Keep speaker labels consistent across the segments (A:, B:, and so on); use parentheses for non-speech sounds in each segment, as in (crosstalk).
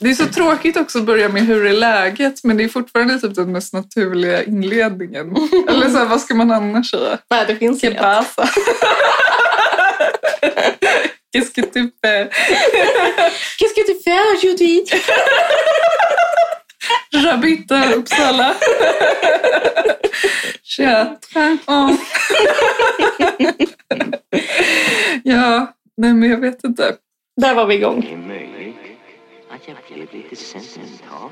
A: Det är så tråkigt också att börja med hur är läget men det är fortfarande typ den mest naturliga inledningen. Eller så här, vad ska man annars säga?
B: Nej, det finns
A: Que (laughs)
B: inget.
A: pasa? Qu'est-ce que tu fais?
B: Qu'est-ce que tu fais, Judy?
A: J'habite à Uppsala. Tja. Ja. ja, nej men jag vet inte.
B: Där var vi igång.
C: i mig att jag blev lite sentimental.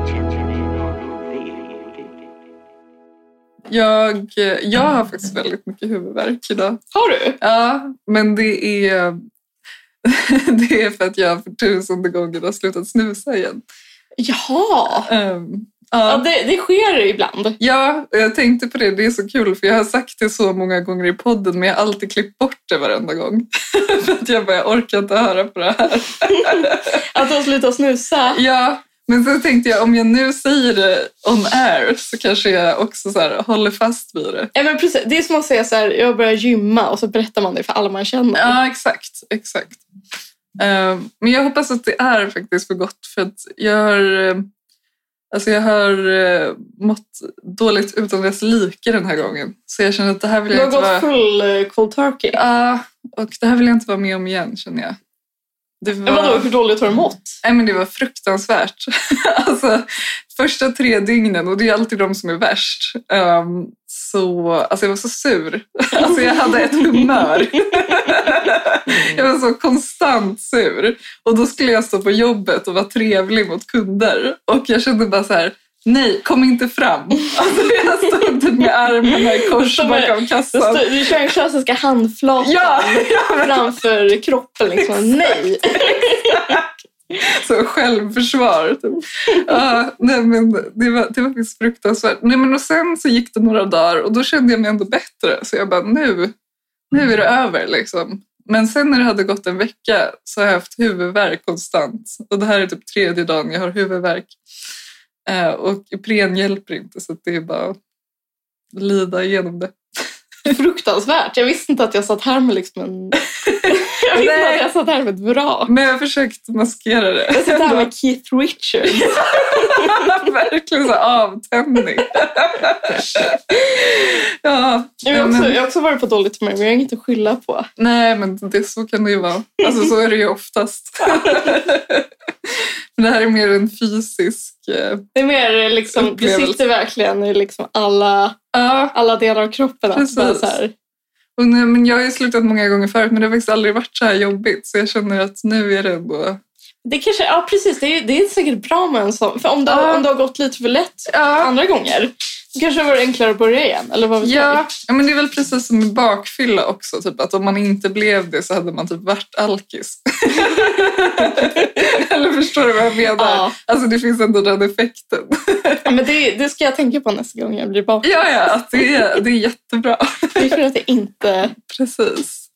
C: Och kände mig vanlig.
A: Jag, eh, jag har faktiskt väldigt mycket huvudvärk idag.
B: Har du?
A: Ja, men det är, (laughs) det är för att jag för tusende gånger har slutat snusa igen.
B: Jaha!
A: Ehm,
B: Ja,
A: ja.
B: det, det sker ibland.
A: Ja, och jag tänkte på det. Det är så kul för jag har sagt det så många gånger i podden men jag har alltid klippt bort det varenda gång. (laughs) för att jag bara, jag orkar inte höra på det här.
B: Att de slutar snusa.
A: Ja, men så tänkte jag om jag nu säger det on air så kanske jag också så här, håller fast vid det.
B: Ja, men precis. Det är som att säga så här, jag börjar gymma och så berättar man det för alla man känner.
A: Ja, exakt. exakt. Ehm, men jag hoppas att det är faktiskt för gott för att jag har, eh, alltså jag har eh, mått dåligt utan dess like den här gången. Så jag känner att det här vill
B: Du
A: jag
B: har
A: inte vara...
B: gått full eh, cold turkey.
A: Ja, och det här vill jag inte vara med om igen känner jag. Det
B: Men Vadå,
A: var,
B: hur dåligt har du mått?
A: nej, men det var fruktansvärt. (laughs) alltså, första tre dygnen, och det är alltid de som är värst. ehm, så, alltså jag var så sur. (laughs) alltså jag hade ett humör. (laughs) jag var så konstant sur. Och då skulle jag stå på jobbet och vara trevlig mot kunder. Och jag kände bara så här, nej, kom inte fram. (laughs) Alltså jag stod typ med armarna i kors
B: Som är-
A: bakom
B: Du,
A: kassan.
B: stå- du kör den klassiska handflatan
A: Ja, ja, men
B: framför kroppen. Liksom. Nej!
A: (laughs) så självförsvar. Typ. Ja, nej, men det, var, det var faktiskt fruktansvärt. Nej, men och sen så gick det några dagar och då kände jag mig ändå bättre. Så jag bara, nu, nu är det över. Liksom. Men sen när det hade gått en vecka så har jag haft huvudvärk konstant. Och det här är typ tredje dagen jag har huvudvärk. Eh, och Ipren hjälper inte så att det är bara att lida igenom det.
B: Fruktansvärt. Jag visste inte att jag satt här med liksom en... (laughs) Jag visste inte
A: Nej.
B: att jag satt här med ett bra.
A: Men jag har försökt maskera det. (laughs)
B: Jag satt här med Keith Richards.
A: Verkligen så här avtändning. (laughs) ja,
B: Jag har
A: men-
B: också, jag har också varit på dåligt humör, men jag har inget att skylla på.
A: nej, men det, så kan det ju vara. Alltså, så är det ju oftast. men det här är mer en fysisk... eh,
B: Det är mer liksom, det
A: Upplevelse.
B: sitter verkligen i liksom alla,
A: Ja,
B: alla delar av kroppen. Att
A: Precis.
B: bara så här,
A: och nej, men jag har ju slutat många gånger förut men det har faktiskt aldrig varit så här jobbigt så jag känner att nu är det ändå...
B: det kanske, ja precis, det är, ju- det är säkert bra med en sån. För om det,
A: Ja.
B: om det har gått lite för lätt
A: Ja,
B: andra gånger, då kanske det var enklare att börja igen. Eller vad vet jag?
A: ja, ja, men det är väl precis som med bakfylla också. Typ, att om man inte blev det så hade man typ varit (laughs) alkis. Eller förstår du vad jag menar?
B: Ja.
A: Alltså det finns ändå den effekten.
B: Ja, men det, det ska jag tänka på nästa gång jag blir bakis.
A: Ja, ja, att det är, det är jättebra.
B: Det är för att jag inte...
A: Precis.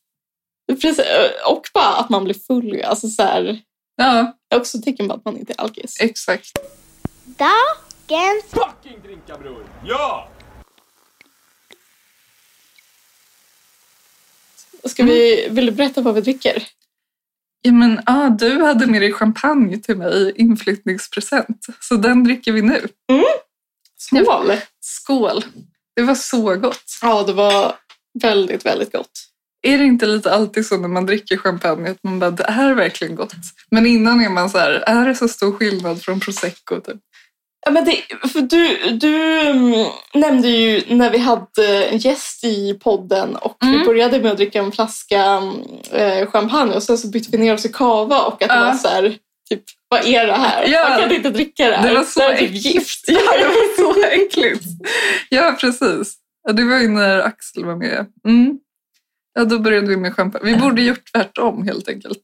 B: Precis, eh, och bara att man blir full. ju. Alltså så här,
A: Ja,
B: det är också ett tecken på att man inte är alkis.
A: exakt.
D: Dagens
E: fucking drinka bror! Ja!
B: Ska vi, vill du berätta vad vi dricker?
A: Ja, men, ah, du hade med dig champagne till mig i inflyttningspresent, så den dricker vi nu.
B: Skål!
A: Skål! Det var så gott.
B: Ja, det var väldigt, väldigt gott.
A: Är det inte lite alltid så när man dricker champagne att man bara, det här är verkligen gott. Men innan är man så här, är det så stor skillnad från prosecco? Typ? (laughs)
B: Ja, men det, för du, du mm, nämnde ju när vi hade en gäst i podden och vi
A: Mm.
B: började med att dricka en flaska mm, eh, champagne och sen så bytte vi ner oss i kava och att det
A: Ja.
B: var så här, typ, vad är det här?
A: Ja.
B: Jag kan inte dricka det här.
A: Det var så
B: här är typ
A: äckligt.
B: gift.
A: (laughs) Ja, det var så äckligt. Ja, precis. Ja, det var ju när Axel var med. Mm. Ja, då började vi med champagne. Vi borde gjort tvärtom helt enkelt.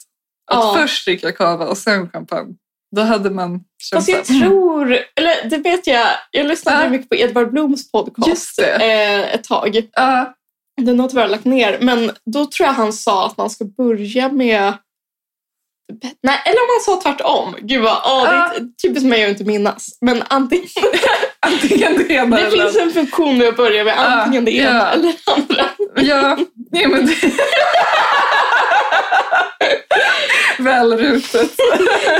A: Att
B: Ja.
A: först dricka kava och sen champagne. Då hade man kämpat.
B: (laughs) Fast jag tror, eller det vet jag, jag lyssnade
A: Ja.
B: mycket på Edvard Bloms podcast
A: Just det.
B: eh, ett tag.
A: Ja,
B: Den har tyvärr lagt ner, men då tror jag han sa att man ska börja med... Nej, eller om han sa tvärtom. Gud vad, åh, det är typiskt mig att inte minnas. Men antingen,
A: antingen det ena
B: det finns en funktion med att börja med antingen det ena
A: ja.
B: eller
A: (laughs)
B: det andra.
A: Ja, nej men det... (laughs) (laughs) Välrutet.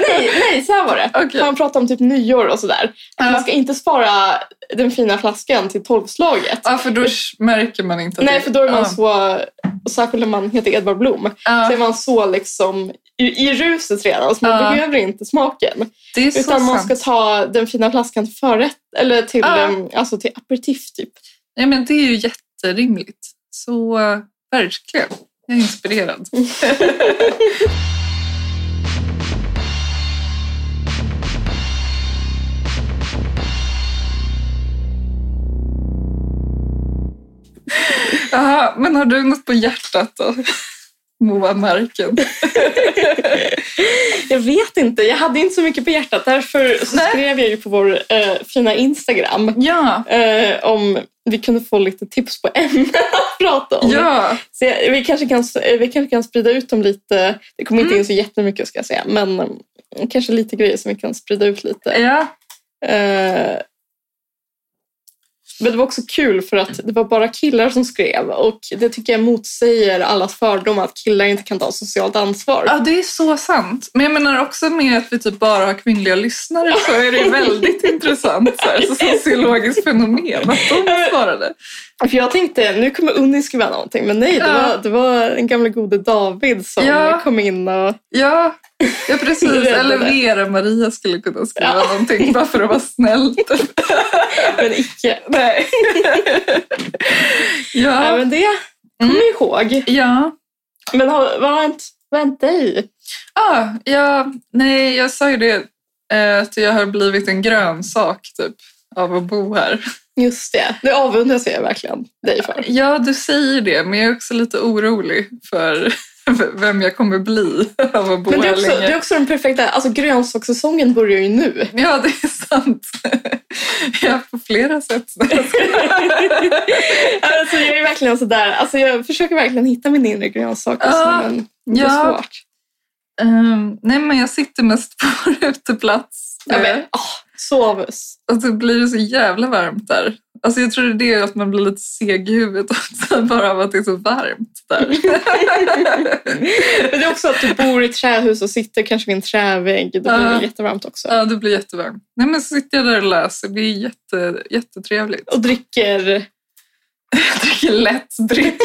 B: Nej, nej, så här var det.
A: Okej.
B: Han pratade om typ nyår och sådär.
A: Ja.
B: Man ska inte spara den fina flaskan till tolvslaget.
A: Ja, för då märker man inte. att
B: Nej,
A: det-
B: för då är man
A: ja.
B: så, och särskilt om man heter Edvard Blom, så är
A: Ja,
B: man så liksom i, i ruset redan, så man
A: Ja.
B: behöver inte smaken.
A: det är så
B: Utan man
A: sant.
B: ska ta den fina flaskan till förrätt, eller till,
A: Ja.
B: em, alltså till aperitif
A: (laughs)
B: typ.
A: Nej, men det är ju jätterimligt. Så eh, verkligen. Jag är inspirerad. (laughs) Jaha, men har du något på hjärtat då? Moa Marken.
B: Jag vet inte, jag hade inte så mycket på hjärtat. Därför så
A: Nej.
B: skrev jag ju på vår eh, fina Instagram
A: Ja,
B: eh, om vi kunde få lite tips på ämnen att prata om.
A: ja.
B: Så jag, vi, kanske kan, eh, vi kanske kan sprida ut dem lite. Det kommer
A: Mm.
B: inte in så jättemycket ska jag säga, men eh, kanske lite grejer som vi kan sprida ut lite.
A: ja.
B: Eh, Men det var också kul för att det var bara killar som skrev och det tycker jag motsäger allas fördomar att killar inte kan ta socialt ansvar.
A: Ja, det är så sant. Men jag menar också med att vi typ bara har kvinnliga lyssnare så är det
B: (laughs)
A: väldigt intressant så här, så sociologiskt fenomen att de svarade.
B: För jag tänkte, nu kommer Unni skriva någonting, men nej, det,
A: Ja.
B: var, det var den gamla gode David som
A: Ja.
B: kom in och...
A: Ja, ja precis.
B: Räddade.
A: Eller Vera-Maria skulle kunna skriva
B: Ja.
A: någonting bara för att vara
B: (laughs)
A: snäll. typ.
B: Men icke.
A: (laughs)
B: (laughs)
A: Nej.
B: Ja,
A: Ja.
B: men det kommer
A: Mm.
B: jag ihåg.
A: Ja.
B: Men har, vad har hänt, vad har hänt dig?
A: Ah, ja, nej, jag sa ju det eh, att jag har blivit en grönsak typ av att bo här.
B: Just det, det avundas jag verkligen dig för.
A: Ja, du säger det, men jag är också lite orolig för (laughs) vem jag kommer bli (laughs) av att bo
B: Men det är,
A: här
B: också, det
A: länge.
B: är också den perfekta, alltså grönsakssäsongen börjar ju nu.
A: Ja, det är sant. Ja, på flera sätt.
B: alltså, jag är verkligen sådär. Alltså, jag försöker verkligen hitta min inre grönsak. och så,
A: Ja,
B: men det är
A: ja.
B: svårt.
A: Ehm, nej, men jag sitter mest på (laughs) vår uteplats.
B: Ja, men,
A: Eh,
B: åh, sovs.
A: Och så blir det så jävla varmt där. Alltså jag tror det är det att man blir lite seg i huvudet också, (laughs) bara av att det är så varmt (laughs) där.
B: Men det är också att du bor i ett trähus och sitter kanske vid en trävägg. Då blir det
A: Ja.
B: jättevarmt också.
A: Ja, det blir jättevarmt. Nej, men så sitter jag där och läser. Det är jätte, jättetrevligt.
B: Och dricker...
A: Jag dricker lätt dryck.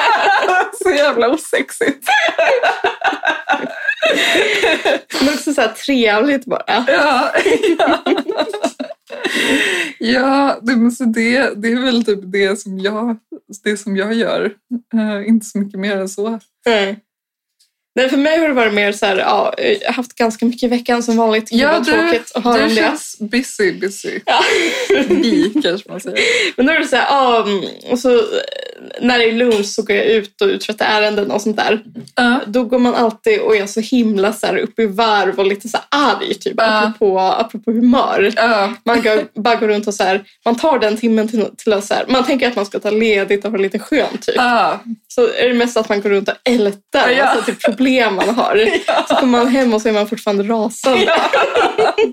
A: (laughs) så jävla osexigt.
B: Men också så här trevligt bara.
A: (laughs) Ja, ja. ja det, men så det, det är väl typ det som jag, det som jag gör. Eh, inte så mycket mer än så.
B: Mm. Nej, för mig har det varit mer så här, ja, jag har haft ganska mycket i veckan som vanligt. Gud,
A: Ja,
B: vad
A: du,
B: tråkigt att höra om
A: du
B: det.
A: känns busy, busy.
B: Ja. (laughs)
A: Bi, kanske man säger.
B: Men då är det så här, ja, mm, och så eh, när det är lunch så går jag ut och uträttar ärenden och sånt där.
A: (laughs) Ja.
B: Då går man alltid och är så himla så här, uppe i varv och lite så här arg, typ,
A: Ja.
B: apropå, apropå humör.
A: Ja,
B: Man går, bara går runt och så här, man tar den timmen till, till att så här, man tänker att man ska ta ledigt och ha det lite skönt. Typ.
A: ja.
B: Så är det mest att man går runt och ältar
A: Ja.
B: alltså, typ problem man har. Så kommer man hem och så är man fortfarande rasande.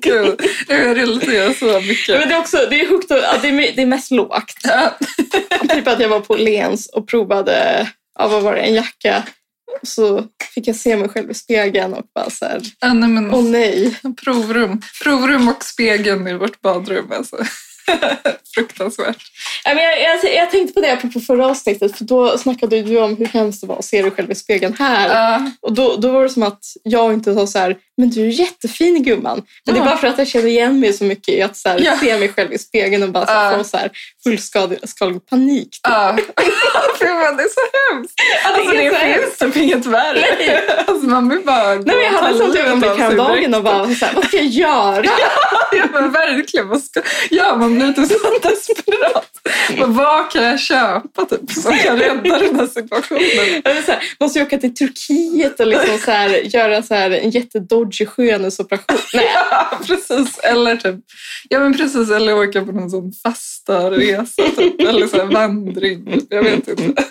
A: Gud, jag relaterar så mycket.
B: Men det är också, det är högt och, ja, det, är, me- det är mest lågt.
A: Ja.
B: Typ att jag var på Lens och provade ja, vad var det, en jacka. Och så fick jag se mig själv i spegeln och bara så här,
A: Ja, nej, men,
B: åh nej.
A: Provrum. Provrum och spegeln i vårt badrum. Alltså. (laughs) Fruktansvärt.
B: Nej, men Jag, jag, jag tänkte på det apropå förra avsnittet för då snackade ju du om hur hemskt det var att se dig själv i spegeln här.
A: Ja,
B: Och då, då var det som att jag inte sa så här, men du är jättefin gumman. Men det
A: Ja.
B: är bara för att jag känner igen mig så mycket i att så här,
A: Ja.
B: se mig själv i spegeln och bara så
A: Ja.
B: här, få så här, fullskalig panik.
A: ja. (laughs) Fy fan, det är så hemskt. Alltså,
B: är så
A: det finns
B: hemskt.
A: typ inget värre.
B: Nej.
A: Alltså, man vill bara gå
B: (laughs) Nej, men jag
A: och ta
B: hade ett sånt
A: livet av
B: ögonblick
A: (laughs) sig direkt.
B: (laughs) häromdagen och bara, så här, vad ska jag göra?
A: Ja, men verkligen. Vad ska... Ja, man lite så desperat. Men vad kan jag köpa typ, som kan rädda den här
B: (laughs)
A: situationen?
B: Jag vill så här, måste jag åka till Turkiet och liksom så här, göra så här, en jättedodgy skönhetsoperation? Nej,
A: Ja, precis. Eller typ, ja men precis, eller åka på någon sån fasta resa typ. Eller så här vandring. Jag vet inte. (laughs)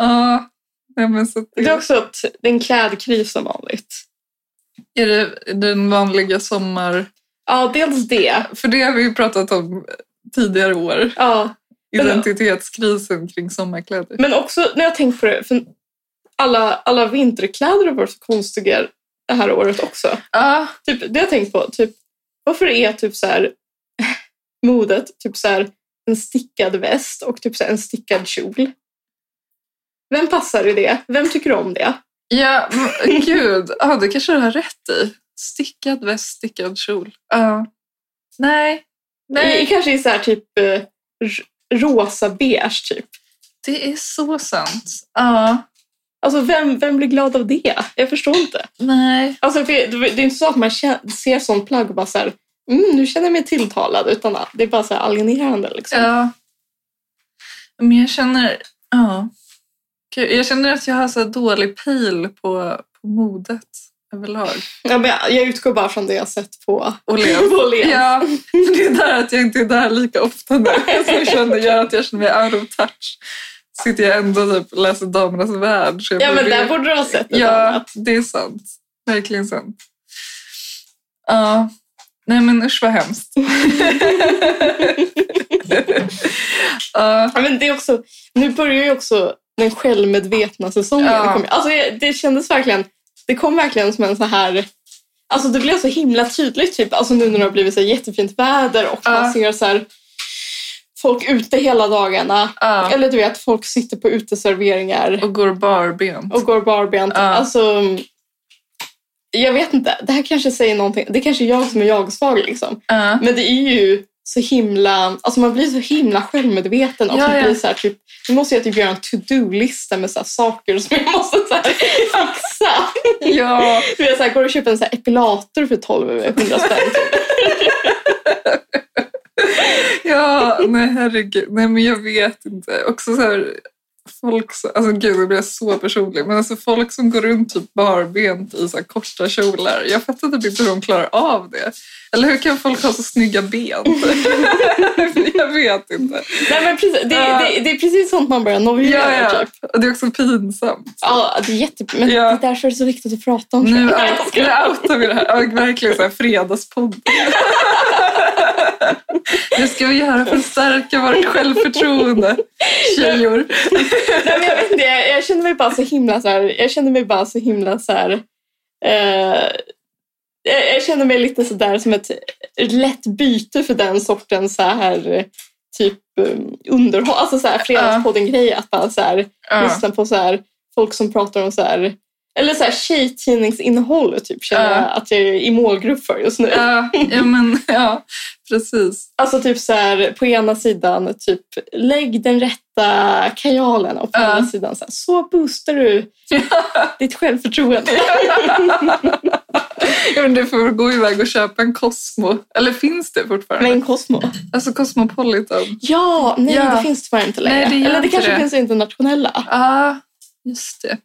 A: Ja, nej, men så att
B: det är också att det är en klädkris som vanligt.
A: Är det den vanliga sommar...
B: Ja, dels det.
A: För det har vi ju pratat om tidigare år.
B: Ja.
A: Identitetskrisen kring sommarkläder.
B: Men också när jag tänkt på det, för alla, alla vinterkläder har varit så konstiga det här året också.
A: Ja,
B: Typ, det har jag tänkt på, typ, varför är typ så här, (laughs) modet typ så här, en stickad väst och typ så här, en stickad kjol? Vem passar i det? Vem tycker om det?
A: ja men gud. Ja, det kanske du har rätt i. Stickad väst, stickad kjol. Ja. Nej.
B: Det
A: Nej,
B: kanske är så här, typ eh, r- rosa beige typ.
A: det är så sant. Ja.
B: Alltså vem, vem blir glad av det? Jag förstår inte.
A: Nej.
B: Alltså, för det det är inte så att man kä- ser sån plagg och bara så här, mm, nu känner jag mig tilltalad. Utan att det är bara så här alienerande. Liksom.
A: Ja. Men jag känner... Ja. Gud, Jag känner att jag har så här dålig pil på, på modet överlag.
B: Ja, men jag, jag utgår bara från det jag sett (laughs) på
A: Och lev.
B: Åhléns.
A: Ja, (laughs) men det är där att jag inte är där lika ofta
B: (laughs)
A: nu. Som känner, gör att jag känner mig out of touch. Sitter jag ändå och typ, läser Damernas Värld. Så jag
B: Ja, men där borde du ha sett ett
A: Ja,
B: annat.
A: det är sant. Verkligen sant. Ja. Nej men usch vad
B: (laughs)
A: hemskt. (laughs) Ja,
B: Ja, men det är också, nu börjar ju också den självmedvetna säsongen.
A: Ja.
B: Det kom- Alltså, jag- det kändes verkligen, det kom verkligen som en så här... Alltså det blev så himla tydligt typ, alltså nu när det har blivit så här jättefint väder och
A: Ja.
B: man ser så här, folk ute hela dagarna.
A: ja.
B: Eller du vet, folk sitter på uteserveringar
A: Och går barbent.
B: och går barbent.
A: Ja.
B: Alltså, jag vet inte, det här kanske säger någonting. Det är kanske är jag som är jag-svag liksom.
A: Ja.
B: Men det är ju så himla... Alltså man blir så himla självmedveten. Och
A: Ja,
B: det
A: ja.
B: blir så här, typ, nu måste jag typ göra en to-do-lista med så här saker som jag måste
A: (laughs)
B: så här fixa.
A: ja.
B: Du vet, så här, går och köper en så här epilator för
A: (laughs)
B: 1200 spänn.
A: Ja, nej herregud. Nej men jag vet inte. Också så här, folk som, alltså gud nu blir jag så personlig, men alltså folk som går runt typ barbent i så här korta kjolar. Jag fattar typ inte hur de klarar av det. Eller hur kan folk ha så snygga ben? (laughs) jag vet inte.
B: Nej, men precis, det,
A: Ja.
B: det, det är precis sånt man börjar
A: Ja,
B: noja
A: ja.
B: typ.
A: Och det är också pinsamt.
B: Ja, det är jätte... Men
A: Ja.
B: det är därför det är så viktigt att prata om.
A: Nu,
B: det.
A: out, nu outar vi det här. Ja, verkligen så här (laughs) fredagspodd. Det ska vi göra för att stärka vårt självförtroende, tjejor.
B: Nej, men jag, vet inte, jag, jag kände mig bara så himla så här, jag kände mig bara så himla så här, eh, jag, jag kände mig lite så där som ett lätt byte för den sortens så här eh, typ um, underhåll, alltså så här fredagspodden grej att bara så här
A: Ja.
B: lyssna på så här folk som pratar om så här eller så här tjejtidningsinnehåll typ känner
A: Ja.
B: jag att jag är i målgrupp för just nu.
A: Ja, ja, men, ja precis.
B: Alltså typ så här på ena sidan typ lägg den rätta kajalen och på
A: Ja.
B: andra sidan så här, så boostar du
A: (laughs)
B: ditt självförtroende.
A: Ja, men du får gå iväg och köpa en Cosmo. Eller finns det fortfarande?
B: Med en Cosmo.
A: Alltså Cosmopolitan.
B: Ja, nej
A: Ja.
B: det finns tyvärr inte längre.
A: Nej, det gör
B: Eller det
A: inte
B: kanske
A: det.
B: finns internationella.
A: Ja, ah, just det.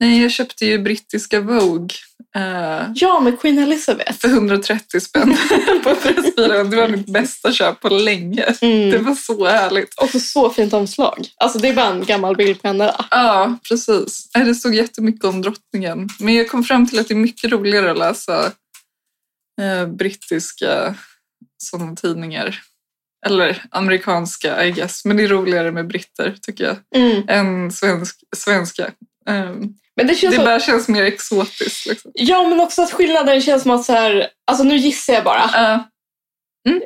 A: Nej, jag köpte ju brittiska Vogue eh,
B: Ja, med Queen Elizabeth.
A: för 130 spänn (laughs) på Pressbyrån. Det var mitt bästa köp på länge. Det
B: Mm.
A: var så härligt.
B: Och så, så fint omslag. Alltså det är bara en gammal bild på henne. va?
A: Ja, precis. Nej, Det stod jättemycket om drottningen. Men jag kom fram till att det är mycket roligare att läsa eh, brittiska sådana tidningar. Eller amerikanska, I guess. Men det är roligare med britter, tycker jag,
B: Mm.
A: än svensk, svenska. Ehm,
B: Men det känns
A: det
B: som-
A: bara känns mer exotiskt. Liksom.
B: Ja, men också att skillnaden känns som att så här, alltså nu gissar jag bara
A: Ja,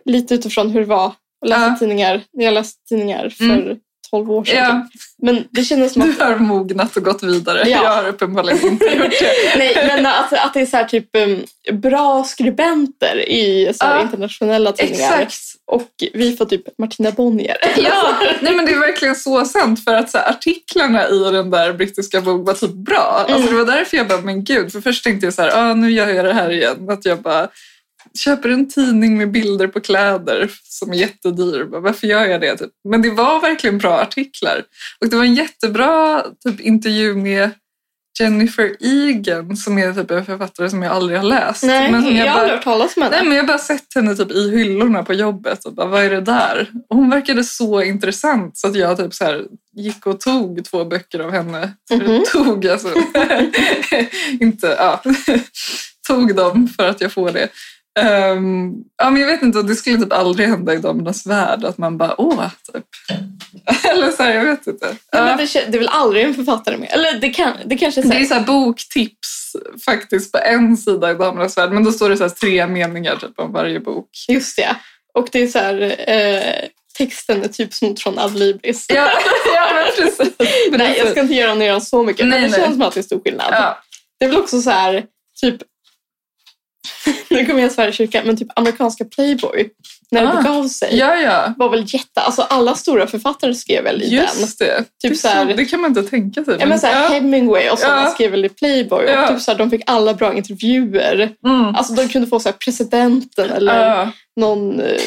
B: lite utifrån hur det var att läsa
A: Ja. Mm.
B: tidningar när jag läste tidningar för 12 år sedan. typ.
A: ja,
B: Men det kändes som att
A: du har mognat och gått vidare.
B: Ja.
A: Jag har uppenbarligen inte gjort det.
B: (laughs) Nej, men att, att det är så här typ um, bra skribenter i så här
A: Ja,
B: internationella tidningar.
A: Exakt.
B: Och vi får typ Martina Bonnier.
A: Ja, nej men det är verkligen så sant för att så här, artiklarna i den där brittiska Vogue var typ bra. Alltså,
B: Mm.
A: det var därför jag bara, men gud, för först tänkte jag så här, ah, nu gör jag det här igen. Att jag bara köper en tidning med bilder på kläder som är jättedyr. Bara, Varför gör jag det? Typ. Men det var verkligen bra artiklar. Och det var en jättebra typ, intervju med Jennifer Egan som är typ en författare som jag aldrig har läst.
B: Nej,
A: men som
B: jag har
A: bara-
B: aldrig hört talas om
A: Nej,
B: henne.
A: men jag har bara sett henne typ i hyllorna på jobbet och bara, vad är det där? Och hon verkade så intressant så att jag typ så här, gick och tog två böcker av henne.
B: Mhm.
A: Tog alltså. (laughs) inte, ja. (laughs) tog dem för att jag får det. Ehm, ja, men jag vet inte, det skulle typ aldrig hända i damernas värld att man bara, åh, typ. (laughs) Eller så här, jag vet inte.
B: Nej, men
A: Ja.
B: det, kän- det är väl aldrig en författare med? Eller det, kan, det kanske är så
A: Det är
B: här,
A: så här boktips faktiskt på en sida i Damernas värld men då står det så här tre meningar typ om varje bok.
B: Just det. Och det är så här, eh, texten är typ snodd från Adlibris.
A: Ja, (laughs) ja men precis.
B: Nej, jag ska inte göra ner dem så mycket.
A: Nej,
B: men det
A: nej.
B: känns som att det är stor skillnad.
A: Ja,
B: Det är väl också så här, typ... (laughs) nu kommer jag svära i kyrkan, men typ amerikanska Playboy. När
A: Ah.
B: det begav sig.
A: ja. ja.
B: var väl jätte... Alltså alla stora författare skrev väl i den.
A: Just det. det, är
B: Typ så här-
A: det kan man inte tänka sig.
B: Ja, men så här,
A: ja.
B: Hemingway och sådana
A: Ja.
B: skrev väl i Playboy.
A: Ja.
B: Och typ så här, de fick alla bra intervjuer.
A: Mm.
B: Alltså de kunde få så här, presidenten eller
A: Ja.
B: någon eh,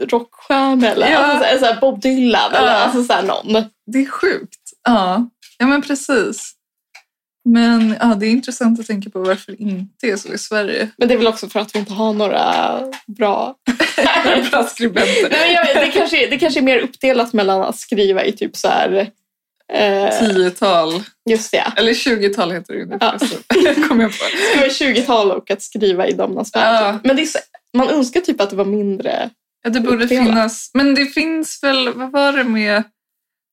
B: rockstjärna eller
A: Ja.
B: alltså, så här, så här, Bob Dylan eller
A: Ja.
B: alltså, så här, någon.
A: det är sjukt. Ja. ja, men precis. Men ja, det är intressant att tänka på varför det inte är så i
B: (laughs)
A: Sverige.
B: Men det är väl också för att vi inte har några bra...
A: Bra skribenter.
B: Nej, men jag, vet, det, kanske, är- det kanske är mer uppdelat mellan att skriva i typ så här... Eh,
A: Tiotal,
B: just det.
A: eller tjugotal heter det ju nu
B: Ja.
A: förresten. (laughs) Kommer jag på.
B: skriva i 20-tal och att skriva i Damernas värld.
A: Ja.
B: Men det är så, man önskar typ att det var mindre.
A: Ja, det borde
B: Uppdelat.
A: finnas. Men det finns väl, vad var det med...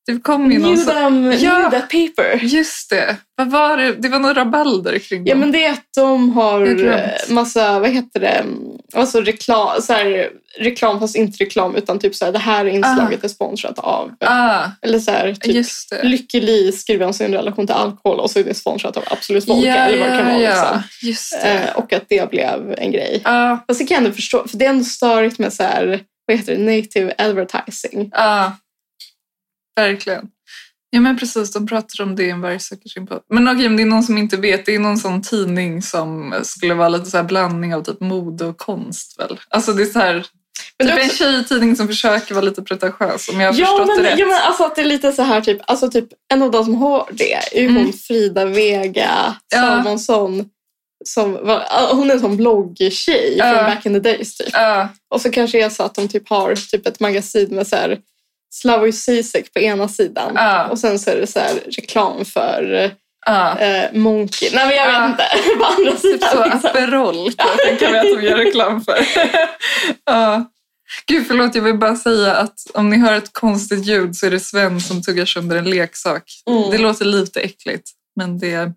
A: Det kom ju någon
B: New
A: sån-
B: them,
A: Ja.
B: new that paper.
A: Just det. Vad var det? Det var något rabalder kring
B: Ja
A: dem.
B: men det är att de
A: Jag har
B: har
A: glömt.
B: eh, massa, vad heter det, mm, alltså reklam, så här, reklam fast inte reklam utan typ så här, det här inslaget är sponsrat av,
A: ah,
B: eller så här, typ
A: just det.
B: Lykke Li skriver om sin relation till alkohol och så är det sponsrat av Absolut Vodka eller vad det kan vara. Liksom.
A: Just det.
B: Eh, och att det blev en grej.
A: Ja,
B: Fast det kan jag ändå förstå, för det är ändå störigt med så här, vad heter det, native advertising.
A: ja. Verkligen. Ja men precis, de pratar om det i en varg söker sin podd. Men okej, om det är någon som inte vet, det är någon sån tidning som skulle vara lite så här blandning av typ mode och konst väl? Alltså det är så här,
B: Men det
A: typ
B: är
A: en
B: också-
A: tjejtidning som försöker vara lite pretentiös om jag har
B: Ja
A: förstått
B: men,
A: det rätt.
B: ja men alltså att det är lite så här typ, alltså typ en av de som har det är ju
A: Mm.
B: hon Frida Vega
A: Ja.
B: Salmonsson. Som var, ah, hon är en sån bloggtjej
A: Ja.
B: från back in the days typ.
A: Ja,
B: Och så kanske det är så att de typ har typ ett magasin med så här Slavoj Zizek på ena sidan
A: Ja.
B: och sen så är det så här reklam för
A: ja.
B: eh, Monkey. Nej men jag vet
A: Ja.
B: inte. (laughs) på andra
A: Typ så
B: sidan. liksom.
A: Aperol typ. kan jag tänka mig att de gör reklam för. (laughs) ja. Gud, förlåt. Jag vill bara säga att om ni hör ett konstigt ljud så är det Sven som tuggar sönder en leksak.
B: Mm.
A: Det låter lite äckligt, men det är eh,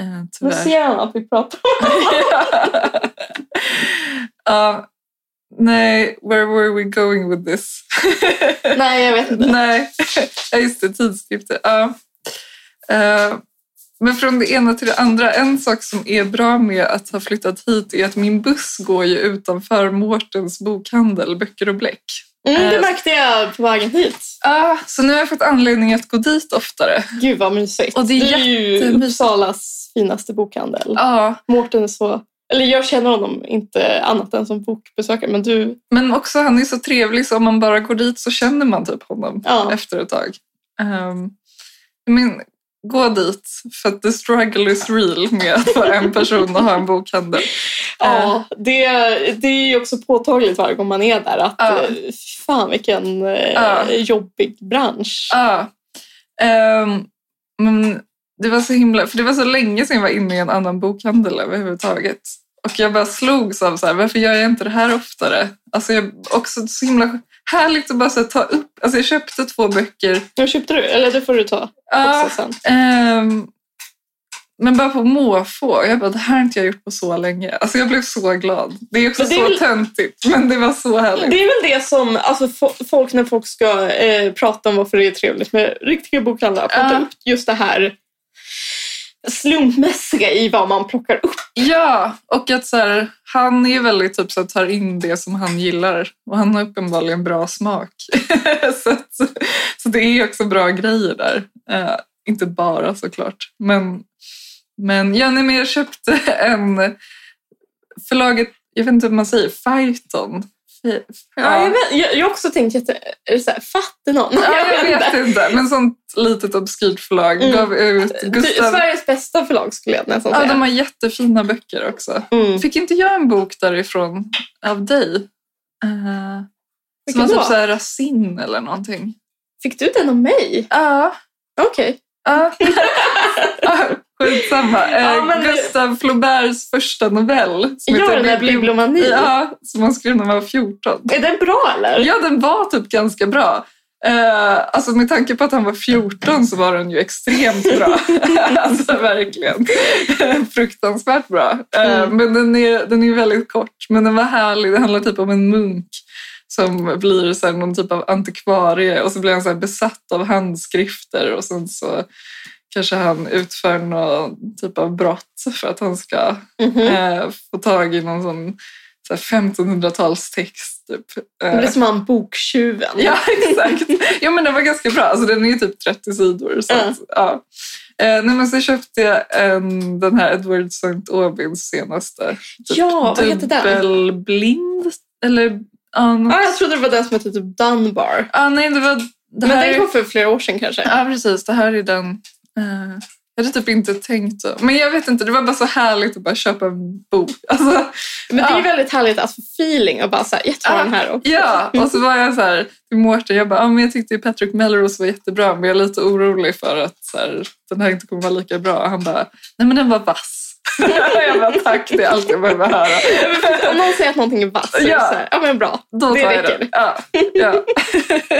B: Nu
A: tyvärr...
B: ser han att vi pratar.
A: (laughs) ja. Nej, where were we going with this? (laughs)
B: Nej jag vet inte.
A: Nej, (laughs) ja, just det, tidskrifter. Ja. Eh, men från det ena till det andra. En sak som är bra med att ha flyttat hit är att min buss går ju utanför Mårtens bokhandel, böcker och bläck.
B: Mm, det
A: Eh,
B: märkte jag på vägen hit.
A: Ja, så nu har jag fått anledning att gå dit oftare.
B: Gud vad mysigt.
A: Och det är
B: ju
A: jättemysigt.
B: Uppsalas finaste bokhandel.
A: Ja,
B: Mårten är så... Eller jag känner honom inte annat än som bokbesökare, men du...
A: men också han är så trevlig så om man bara går dit så känner man typ honom
B: Ja.
A: efter ett tag. Ehm, men gå dit, för att the struggle is real med att vara en person och ha en bokhandel. Ehm,
B: ja det, det är ju också påtagligt varje gång man är där att
A: Ja.
B: eh, fan vilken eh,
A: Ja.
B: jobbig bransch.
A: Ja. Ehm, men det var så himla... För det var så länge sedan jag var inne i en annan bokhandel överhuvudtaget. Och jag bara slogs av så här, varför gör jag inte det här oftare? Alltså jag också så himla härligt att bara så här, ta upp... Alltså jag köpte två böcker.
B: Nu köpte du, eller det får du ta
A: Ja,
B: också sen.
A: ehm, men bara på måfå. Jag bara, det här har inte jag gjort på så länge. Alltså jag blev så glad. Det är också
B: Men det är
A: så
B: väl-
A: töntigt, men det var så härligt.
B: Det är väl det som alltså, fo- folk när folk ska eh, prata om varför det är trevligt med riktiga bokhandlar. Prata
A: Ja.
B: upp just det här slumpmässiga i vad man plockar upp.
A: Ja, och att så här, han är väldigt typ så att tar in det som han gillar. Och han har uppenbarligen bra smak. (laughs) så, att, så det är också bra grejer där. Eh, inte bara såklart. (laughs) Men, men, ja, nej, men jag köpte en... Förlaget Jag vet inte hur man säger. Fajton. Fi-
B: Ja, jag,
A: Ja.
B: vet, jag, jag har också tänkt att är det så här, fatte någon.
A: Ja, jag vet inte. Men sånt litet obskyrt förlag
B: Mm.
A: gav ut
B: Du,
A: Gustav.
B: Sveriges bästa förlag skulle jag nästan
A: Ja,
B: säga.
A: de har jättefina böcker också.
B: mm.
A: Fick inte jag en bok därifrån av dig? Eh, som
B: Vilken
A: var typ
B: då?
A: så här Racine eller någonting.
B: Fick du den av mig?
A: Ja.
B: Okej.
A: Ja. (laughs) Ja, Skitsamma. Eh,
B: Ja, men-
A: Gustav Flauberts första novell. Som
B: Gör den där
A: Bibli-
B: bibliomani.
A: Ja, som han skrev när han var 14.
B: Är den bra eller?
A: Ja, den var typ ganska bra. Eh, alltså med tanke på att han var 14 så var den ju extremt
B: (laughs)
A: bra. alltså verkligen. Fruktansvärt bra. Eh,
B: Mm.
A: Men den är, den är väldigt kort. Men den var härlig. Det handlar typ om en munk som blir så här någon typ av antikvarie och så blir han så här besatt av handskrifter och sen så kanske han utför någon typ av brott för att han ska
B: Mhm.
A: eh, få tag i någon sån så här 1500-talstext. Typ. Eh,
B: Det blir som han boktjuven.
A: (laughs) Ja, exakt. Ja, men den var ganska bra. Alltså, den är ju typ 30 sidor. Så
B: Mm.
A: att, ja. eh, nej, men så köpte jag en, den här Edward St. Aubins senaste. Typ
B: Ja, vad heter den?
A: Dubbelblind? Eller... Ja, något-
B: Ah, jag trodde det var den som hette typ Dunbar.
A: ja, nej, det var... Det
B: Men
A: här
B: den
A: är-
B: kom för flera år sedan kanske.
A: Ja, precis. Det här är den... eh, jag hade typ inte tänkt så. Men jag vet inte, det var bara så härligt att bara köpa en bok. Alltså,
B: Men det är
A: Ja.
B: ju väldigt härligt att få feeling och bara så här, jag tar
A: Ja. (laughs)
B: den här också.
A: Ja, och så var jag så här till Mårten, jag bara, ah, men jag tyckte ju Patrick Melrose var jättebra men jag är lite orolig för att så här, den här inte kommer vara lika bra. Och Han bara, nej men den var vass. (laughs) jag bara, tack det är allt jag behöver höra.
B: Om någon säger att någonting är vass, så är det
A: Ja.
B: så här, ja men bra.
A: Då tar
B: Det
A: jag
B: räcker.
A: den. Ja, ja. (laughs)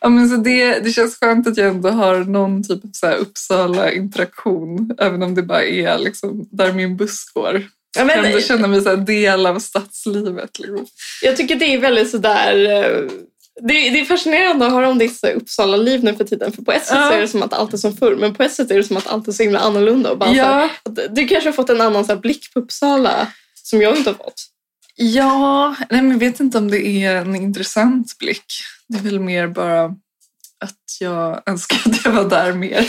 A: ja, men så det, det känns skönt att jag ändå har någon typ av så här Uppsala-interaktion även om det bara är liksom, där min buss går.
B: Ja,
A: Jag kan
B: men,
A: ändå känna mig så här, del av stadslivet. Liksom.
B: jag tycker det är väldigt sådär... eh, Det, det är fascinerande att höra om ditt så här Uppsala-liv nu för tiden. För på ett sätt
A: Ja.
B: så är det som att allt är som förr, men på ett sätt är det som att allt är så himla annorlunda. Och bara så här,
A: Ja.
B: att du kanske har fått en annan så här blick på Uppsala som jag inte har fått.
A: Ja, nej, men jag vet inte om det är en intressant blick. Det är väl mer bara att jag önskar att jag var där
B: (laughs)
A: mer.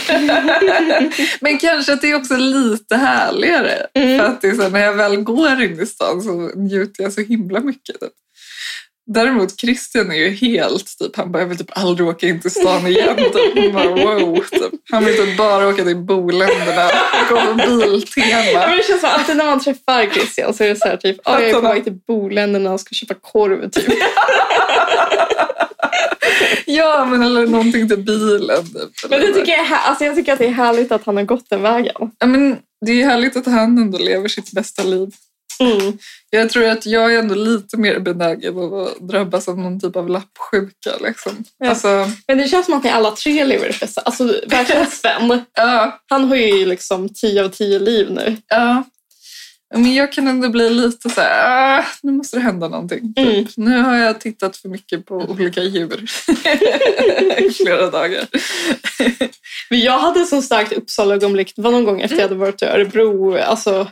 A: men kanske att det är också lite härligare.
B: Mm.
A: För att det är så, här, när jag väl går in i stan så njuter jag så himla mycket. Typ. Däremot Christian är ju helt typ, han bara, jag vill typ aldrig åka in till stan igen. Typ. Man Bara, wow, typ. Han vill typ bara åka till Boländerna och gå
B: (laughs)
A: på
B: Ja,
A: Biltema.
B: men det känns som alltid när man träffar Christian så är det så här typ, "Ah, jag är på väg till Boländerna och ska köpa korv typ.
A: Ja, men eller någonting till bilen. Typ,
B: Men det
A: Eller-
B: tycker jag, är här- alltså jag tycker att det är härligt att han har gått den vägen.
A: Ja, men det är ju härligt att han ändå lever sitt bästa liv. Mm. Jag tror att jag är ändå lite mer benägen att drabbas av någon typ av lappsjuka. Liksom.
B: Ja.
A: Alltså,
B: Men det känns som att ni alla tre lever det bästa. Alltså
A: (laughs)
B: verkligen Sven.
A: ja,
B: Han har ju liksom 10 av 10 liv nu.
A: ja. Men jag kan ändå bli lite så här, ah, nu måste det hända någonting. Typ.
B: Mm.
A: Nu har jag tittat för mycket på olika
B: (laughs)
A: djur i flera dagar.
B: Men jag hade ett så starkt Uppsala-ögonblick. Det var någon gång efter
A: Mm.
B: jag hade varit i Örebro. Alltså,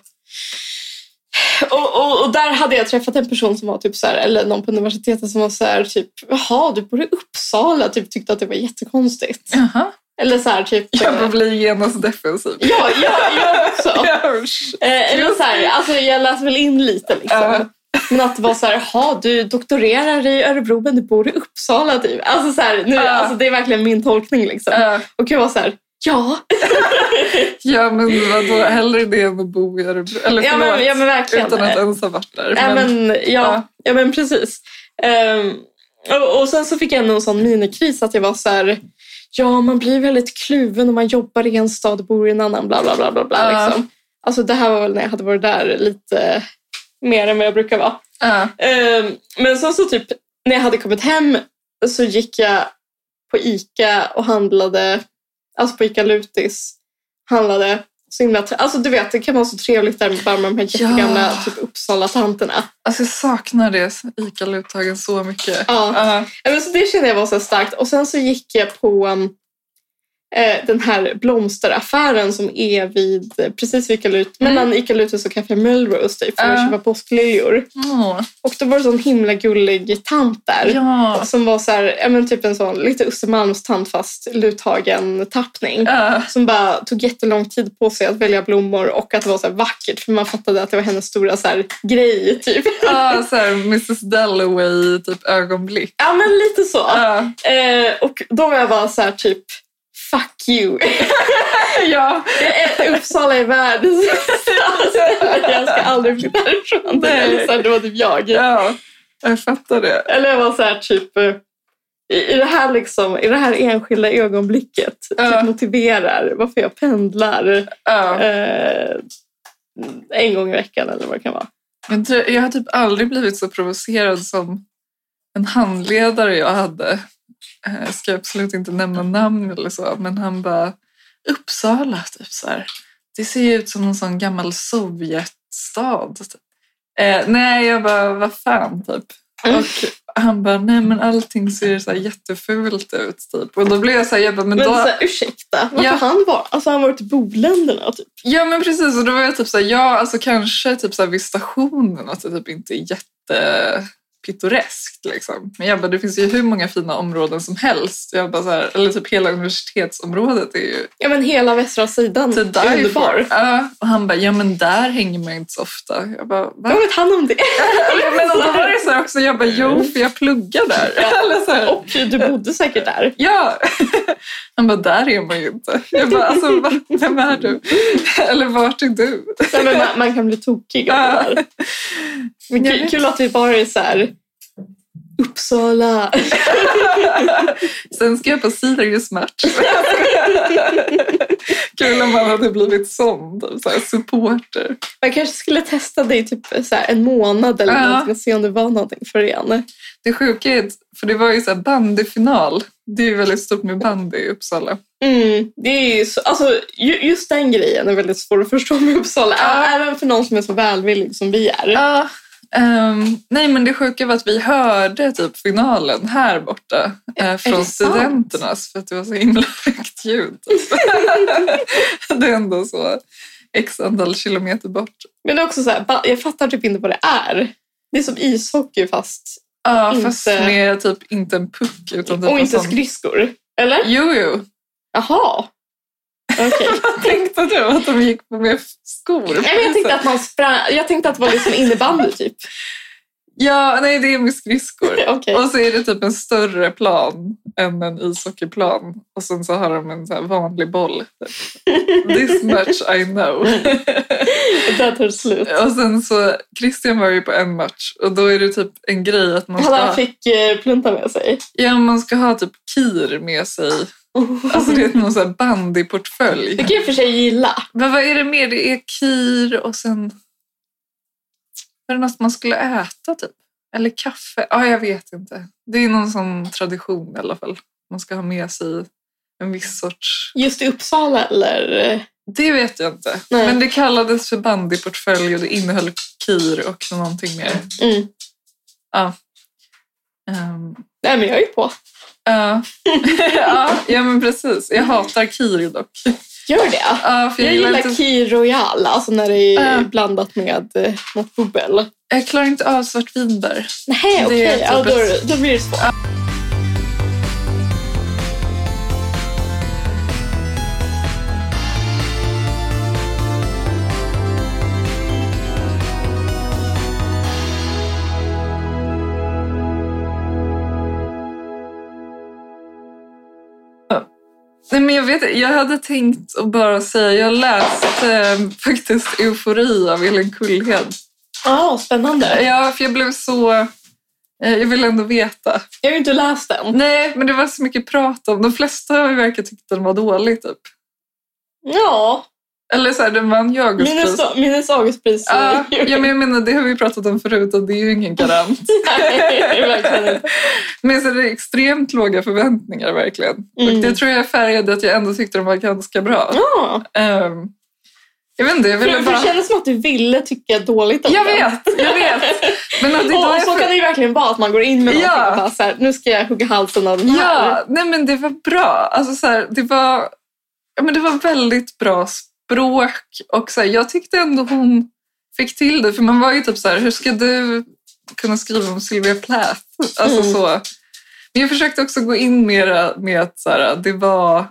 B: och, och, och där hade jag träffat en person som var typ så här, eller någon på universitetet som var så här typ, jaha du bor i Uppsala, typ tyckte att det var jättekonstigt.
A: Jaha.
B: Eller så här typ,
A: Jag bara
B: eh,
A: blir genast defensiv.
B: ja, ja, jag också.
A: (laughs) Ja, usch.
B: Eh, eller så här, alltså jag läste väl in lite liksom.
A: Ja.
B: Men att det var så här, jaha du doktorerar i Örebro men du bor i Uppsala typ. Alltså, så här, nu,
A: Ja.
B: alltså det är verkligen min tolkning liksom.
A: Ja.
B: Och jag var så här, ja.
A: Ja, men vadå? Hellre det än att bo i Örebro. Eller
B: Ja, men-
A: förlåt,
B: ja, men verkligen.
A: utan att ens ha varit där.
B: Nej, men, ja, ja.
A: Ja.
B: men precis. Ehm, och, och sen så fick jag ändå en sån minikris att jag var så här, ja man blir väldigt kluven om man jobbar i en stad och bor i en annan, bla bla bla. bla, bla
A: Ja.
B: liksom. Alltså det här var väl när jag hade varit där lite mer än vad jag brukar vara.
A: Ja.
B: Ehm, men sen så typ när jag hade kommit hem så gick jag på Ica och handlade, alltså på Ica Lutis, handlade så himla tre- Alltså du vet, det kan vara så trevligt där med bara med de här
A: Ja.
B: jättegamla typ Uppsala-tanterna.
A: Alltså jag saknar det, ICA-luthagen, så mycket. Ah.
B: Ja.
A: Ja.
B: Ja, men så det kände jag var så starkt. Och sen så gick jag på um, eh, den här blomsteraffären som är vid, eh, precis vid Kalut,
A: Mm.
B: mellan Ica Lutus och Café Melrose typ, för att
A: Ja.
B: köpa påskliljor.
A: Åh,
B: Och då var det en sån himla gullig tant där.
A: ja.
B: (laughs) Som var så här, ja, men typ en sån lite Östermalmstant fast Luthagen-tappning.
A: Ja.
B: Som bara tog jättelång tid på sig att välja blommor och att det var så här vackert för man fattade att det var hennes stora så här, grej. Typ.
A: Ja, Ah, så här Mrs Dalloway typ ögonblick. Ah.
B: Ja men lite så.
A: Ja.
B: Eh, och då var jag bara så här typ Fuck you!
A: ja.
B: Eh, Uppsala är världens (laughs) alltså, Jag ska aldrig flytta härifrån.
A: Nej.
B: Eller så här, det var typ jag.
A: Ja, jag fattar det.
B: Eller jag var så här typ eh, i, i, det här liksom, I det här enskilda ögonblicket
A: Ja.
B: typ motiverar varför jag pendlar
A: Ja.
B: eh, en gång i veckan eller vad det kan vara.
A: Men tror- jag har typ aldrig blivit så provocerad som en handledare jag hade. Eh, Jag ska absolut inte nämna namn eller så, men han bara Uppsala, typ så här. Det ser ju ut som någon sån gammal Sovjetstad. typ. Eh, nej, jag bara, vad fan, typ. Och han bara, nej men
B: Mm.
A: allting ser så här jättefult ut, typ. Och då blev jag så här, jag bara, men,
B: Men
A: då...
B: så här, ursäkta, varför
A: Ja.
B: han var? Alltså han har varit i Boländerna typ.
A: Ja men precis, och då var jag typ såhär, ja alltså kanske typ såhär vid stationen att det typ inte är jättepittoreskt liksom. Men jag bara, det finns ju hur många fina områden som helst. Jag bara så här, eller typ hela universitetsområdet är ju
B: Ja men hela västra sidan.
A: to die
B: Mm, Underbar.
A: for. Ja, och han bara, ja men där hänger man inte så ofta. Jag bara,
B: Vad
A: va?
B: vet han om det?
A: (laughs) Ja, men och då var det så här också, jag bara, jo för jag pluggar där.
B: Mm. Ja.
A: (laughs) Eller så här,
B: Och du bodde säkert där.
A: Ja! (laughs) Han bara, där är man ju inte. Jag bara, alltså va? vem är du? (laughs) Eller vart är du?
B: Nej, men man, man kan bli tokig av det där. Men
A: Jag
B: kul,
A: vet.
B: kul att vi bara är så här Uppsala.
A: Sen ska jag på Sirius match. (laughs) Kul om man hade blivit sån, typ så här supporter.
B: Man kanske skulle testa det i typ så här en månad eller
A: Ja.
B: någonting och se om det var någonting för igen.
A: Det sjuka är, att- för det var ju så här bandyfinal. Det är ju väldigt stort med bandy i Uppsala.
B: Mm, det är ju så, alltså, ju, just den grejen är väldigt svår att förstå med Uppsala.
A: Ja.
B: Även för någon som är så välvillig som vi är.
A: Ja. ehm, nej men det sjuka var att vi hörde typ finalen här borta eh,
B: är
A: från
B: det sant?
A: studenternas för att det var så himla högt ljud. typ. (laughs) det är ändå så x antal kilometer bort.
B: Men det är också så här, ba- jag fattar typ inte vad det är. Det är som ishockey fast
A: Ja,
B: Inte-
A: fast med typ inte en puck utan typ
B: och
A: en
B: inte
A: sån-
B: skridskor. Eller?
A: Jo,
B: (laughs)
A: jo.
B: Jaha. Okej.
A: (laughs) Tänkte du att de gick på med skor?
B: Nej, men jag tänkte att man sprang, jag tänkte att det var liksom innebandy typ.
A: Ja, nej det är med skridskor.
B: Okej.
A: (laughs) Och så är det typ en större plan än en ishockeyplan. Och sen så har de en så här vanlig boll. This much I know.
B: Där tar det slut.
A: Och sen så, Christian var ju på en match och då är det typ en grej att man ska,
B: Han fick eh, plunta med sig.
A: ja, man ska ha typ kir med sig. Alltså det är någon så här
B: Det
A: bandyportfölj.
B: kan jag i och för sig gilla.
A: Men vad är det mer? Det är kir och sen... Var det något man skulle äta typ? Eller kaffe? Ja, jag vet inte. Det är någon sån tradition i alla fall. Man ska ha med sig en viss sorts...
B: Just i Uppsala eller? eh,
A: Det vet jag inte.
B: Nej.
A: Men det kallades för bandyportfölj och det innehöll kir och någonting mer.
B: Mm.
A: Ehm,
B: Nej men jag
A: (laughs)
B: är på.
A: ja. ja, ja, men precis. Jag hatar kir dock.
B: Gör det.
A: Ja, för
B: Jag gillar Kir Royal, alltså när det är
A: Ja.
B: blandat med eh, något bubbel.
A: jag klarar inte av svartvinbär.
B: Nej,
A: är
B: okej.
A: typ
B: Ja,
A: ett-
B: då, då blir det svårt.
A: Nej, men jag, vet, inte. jag hade tänkt att bara säga, jag läste eh, faktiskt Eufori av Elin Kullhed.
B: Ja, spännande.
A: Ja, för jag blev så... eh, Jag ville ändå veta.
B: Jag har ju inte läst den.
A: Nej, men det var så mycket prat om. De flesta verkar tyckte den var dålig, typ.
B: Ja,
A: Eller så här, den vann ju
B: Minnes,
A: Augustpris.
B: minnes (laughs) Augustpriset.
A: Ja, ja, men jag menar, det har vi pratat om förut och det är ju ingen garant.
B: (laughs) Nej, verkligen inte.
A: Men så är det extremt låga förväntningar, verkligen.
B: Mm.
A: Och det tror jag färgade att jag ändå tyckte den var ganska bra.
B: Ja.
A: Ehm, jag vet inte, jag
B: För,
A: ville
B: för det
A: bara...
B: kändes som att du ville tycka dåligt om
A: Jag
B: den.
A: vet, jag vet. Men att det
B: Och,
A: var
B: och så kan det ju verkligen vara att man går in med
A: Ja.
B: någonting och bara så här, nu ska jag hugga halsen av den här.
A: Ja, nej men det var bra. Alltså så här, det var ja, men det var väldigt bra språk och så här, jag tyckte ändå hon fick till det. För man var ju typ så här, hur ska du kunna skriva om Sylvia Plath? Alltså
B: Mm.
A: så. Men jag försökte också gå in mera med att så här, det var,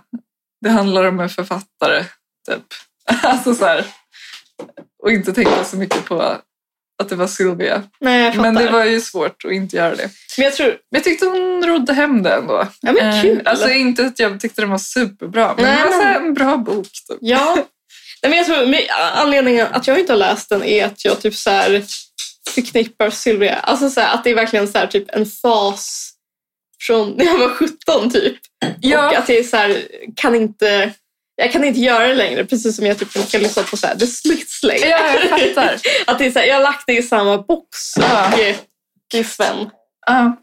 A: det handlar om en författare typ. (laughs) Alltså så här, och inte tänka så mycket på att det var Sylvia.
B: Nej, jag fattar.
A: Men det var ju svårt att inte göra det.
B: Men jag tror...
A: Men jag tyckte hon rodde hem det ändå.
B: Ja, men
A: Eh,
B: kul.
A: Alltså inte att jag tyckte den var superbra, men
B: Nej,
A: det var
B: men-
A: så här en bra bok. Typ.
B: Ja. (laughs) Nej, men jag tror, men anledningen att jag inte har läst den är att jag typ så här förknippar Sylvia. Alltså så här, att det är verkligen så här, typ en fas från när jag var 17 typ. Och
A: Ja,
B: att jag är så här, kan inte... Jag kan inte göra det längre, precis som jag typ inte kan lyssna på så här, The Smiths längre.
A: ja, jag
B: (laughs)
A: fattar.
B: Att det är så här, jag har lagt det i samma box
A: Ja.
B: och eh, Giffen.
A: Ja.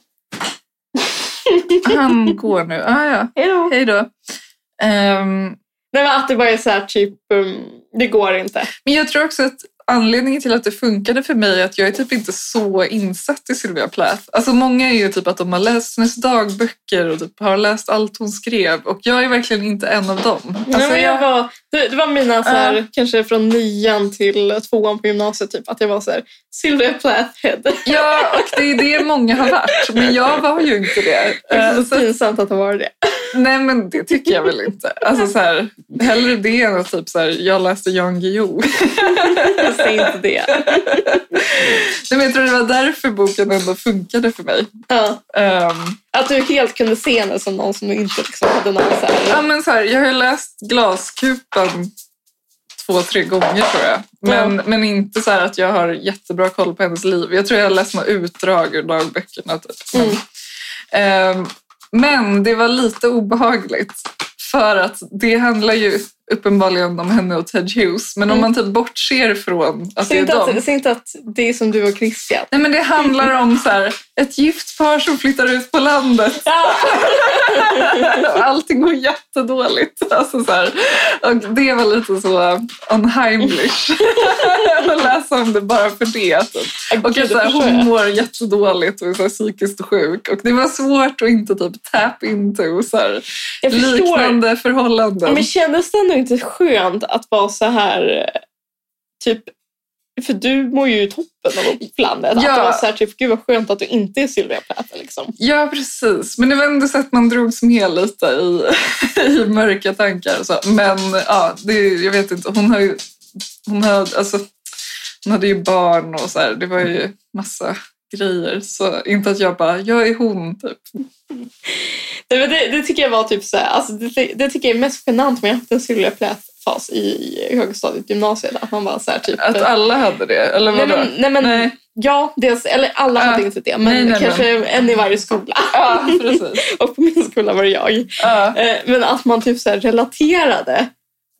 A: Han går nu. Ah, ja.
B: Hej då!
A: Hej då. Ehm,
B: Nej, men att det bara är så här, typ, um, det går inte.
A: men jag tror också att anledningen till att det funkade för mig är att jag är typ inte så insatt i Sylvia Plath. Alltså många är ju typ att de har läst hennes dagböcker och typ har läst allt hon skrev och jag är verkligen inte en av dem.
B: Nej,
A: Alltså,
B: men jag
A: jag-
B: var, det, det var mina så här, kanske från nian till tvåan på gymnasiet, typ, att jag var så här, Sylvia Plathhead.
A: Ja, och det är det många har varit. Men jag var ju inte det.
B: Det är
A: Eh,
B: så pinsamt att ha varit det.
A: Nej, men det tycker jag väl inte. Alltså, så här, hellre det än att typ, så här, jag läste Jan Guillou.
B: Jag säger inte det.
A: Nej, men jag tror det var därför boken ändå funkade för mig.
B: Ja.
A: Ehm,
B: Att du helt kunde se henne som någon som inte liksom hade någon så
A: ja,
B: här...
A: men så här, jag har ju läst Glaskupan två, tre gånger tror jag. Men, men inte så här att jag har jättebra koll på hennes liv. Jag tror jag har läst några utdrag ur dagböckerna. Typ. Men,
B: Mm.
A: Ehm, Men det var lite obehagligt för att det handlar ju uppenbarligen om henne och Ted Hughes. Men om
B: Mm.
A: man typ bortser från att
B: Säg
A: alltså, det är
B: inte,
A: dem.
B: att, säg inte att det är som du och Christian.
A: Nej, men det handlar om så här, ett gift par som flyttar ut på landet
B: Ja.
A: och (laughs) allting går jättedåligt. Alltså så här. Och det var lite så unheimlich (laughs) att läsa om det bara för det. Typ. Och
B: Äh, Gud,
A: att så här,
B: det förstår
A: hon
B: jag.
A: mår jättedåligt och är så här, psykiskt sjuk. Och det var svårt att inte typ tap into så här,
B: Jag förstår.
A: liknande förhållanden.
B: Men kändes det ändå inte skönt att vara så här eh, typ för du mår ju toppen av landet. Att
A: Ja.
B: det var så här, typ, gud vad skönt att du inte är Sylvia Plath. Liksom.
A: Ja, precis. Men det var ändå så att man drogs med lite i, (laughs) i mörka tankar. och Så. Men ja, det, är ju- jag vet inte. Hon, har ju, hon, har, alltså, hon hade ju barn och så här. Det var ju massa grejer. Så inte att jag bara, jag är hon typ.
B: Det, det, det tycker jag var typ så här, alltså, det, det tycker jag är mest genant med att jag haft en Sylvia Plath-fas i, i högstadiet, gymnasiet. Att man bara så här, typ...
A: Att alla hade det. Eller
B: nej,
A: vadå?
B: men, nej, men,
A: Nej.
B: Ja, dels, eller alla
A: Ja.
B: hade inte det, men
A: Nej, nej,
B: kanske en i varje skola.
A: Ja, precis.
B: (laughs) Och på min skola var det jag.
A: Ja,
B: Eh, Men att man typ så här relaterade.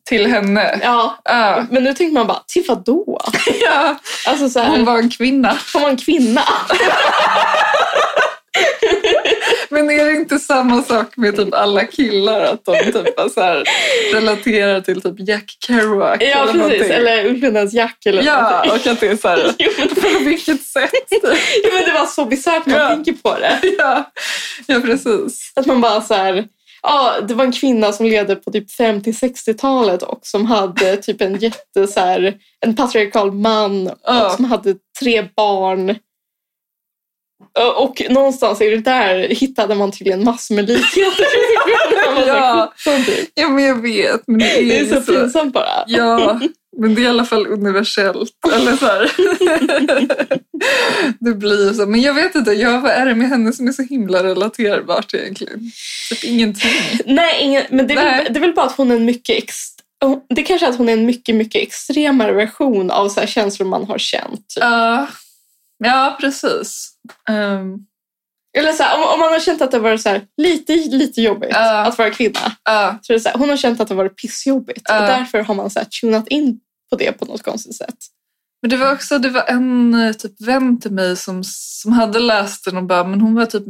A: till henne.
B: Ja,
A: Ja.
B: men nu tänker man bara, till vadå?
A: ja,
B: Alltså så här,
A: hon var en kvinna.
B: Hon var en kvinna.
A: Men är det inte samma sak med typ alla killar? Att de typ bara så här relaterar till typ Jack Kerouac?
B: Ja, precis.
A: någonting?
B: Eller Ulvens Jack eller någonting.
A: Ja, och att det är så här, (laughs)
B: Jo, men,
A: på vilket sätt?
B: (laughs) jo, men det var så bisarrt när man
A: Ja.
B: tänker på det.
A: Ja, ja precis.
B: Att man bara så här... Ja, det var en kvinna som levde på typ 50-60-talet och som hade typ en jätte så här, en patriarkal man och
A: Ja.
B: som hade tre barn. Ö, Och någonstans är det där hittade man tydligen massor med (laughs) likheter. Man var så här,
A: Ja.
B: 17 typ.
A: ja, men jag vet. Men det är,
B: Det är
A: ju
B: så pinsamt bara.
A: Ja, men det är i alla fall universellt. Eller så här. (laughs) Det blir ju så. Men jag vet inte, ja, vad är det med henne som är så himla relaterbart egentligen? Typ ingenting.
B: Nej, ingen, men det är,
A: Nej.
B: Väl, det är väl bara att hon är en mycket ex, det är kanske är att hon är en mycket, mycket extremare version av så här känslor man har känt. Typ.
A: Ja, ja precis. Ehm,
B: Eller så här, om, om man har känt att det var så här, lite, lite jobbigt
A: Ja.
B: att vara kvinna.
A: ja,
B: Så är det så här, hon har känt att det var pissjobbigt
A: Ja.
B: och därför har man så här, tunat in på det på något konstigt sätt.
A: Men det var också det var en eh, typ, vän till mig som, som hade läst den och bara, men hon var typ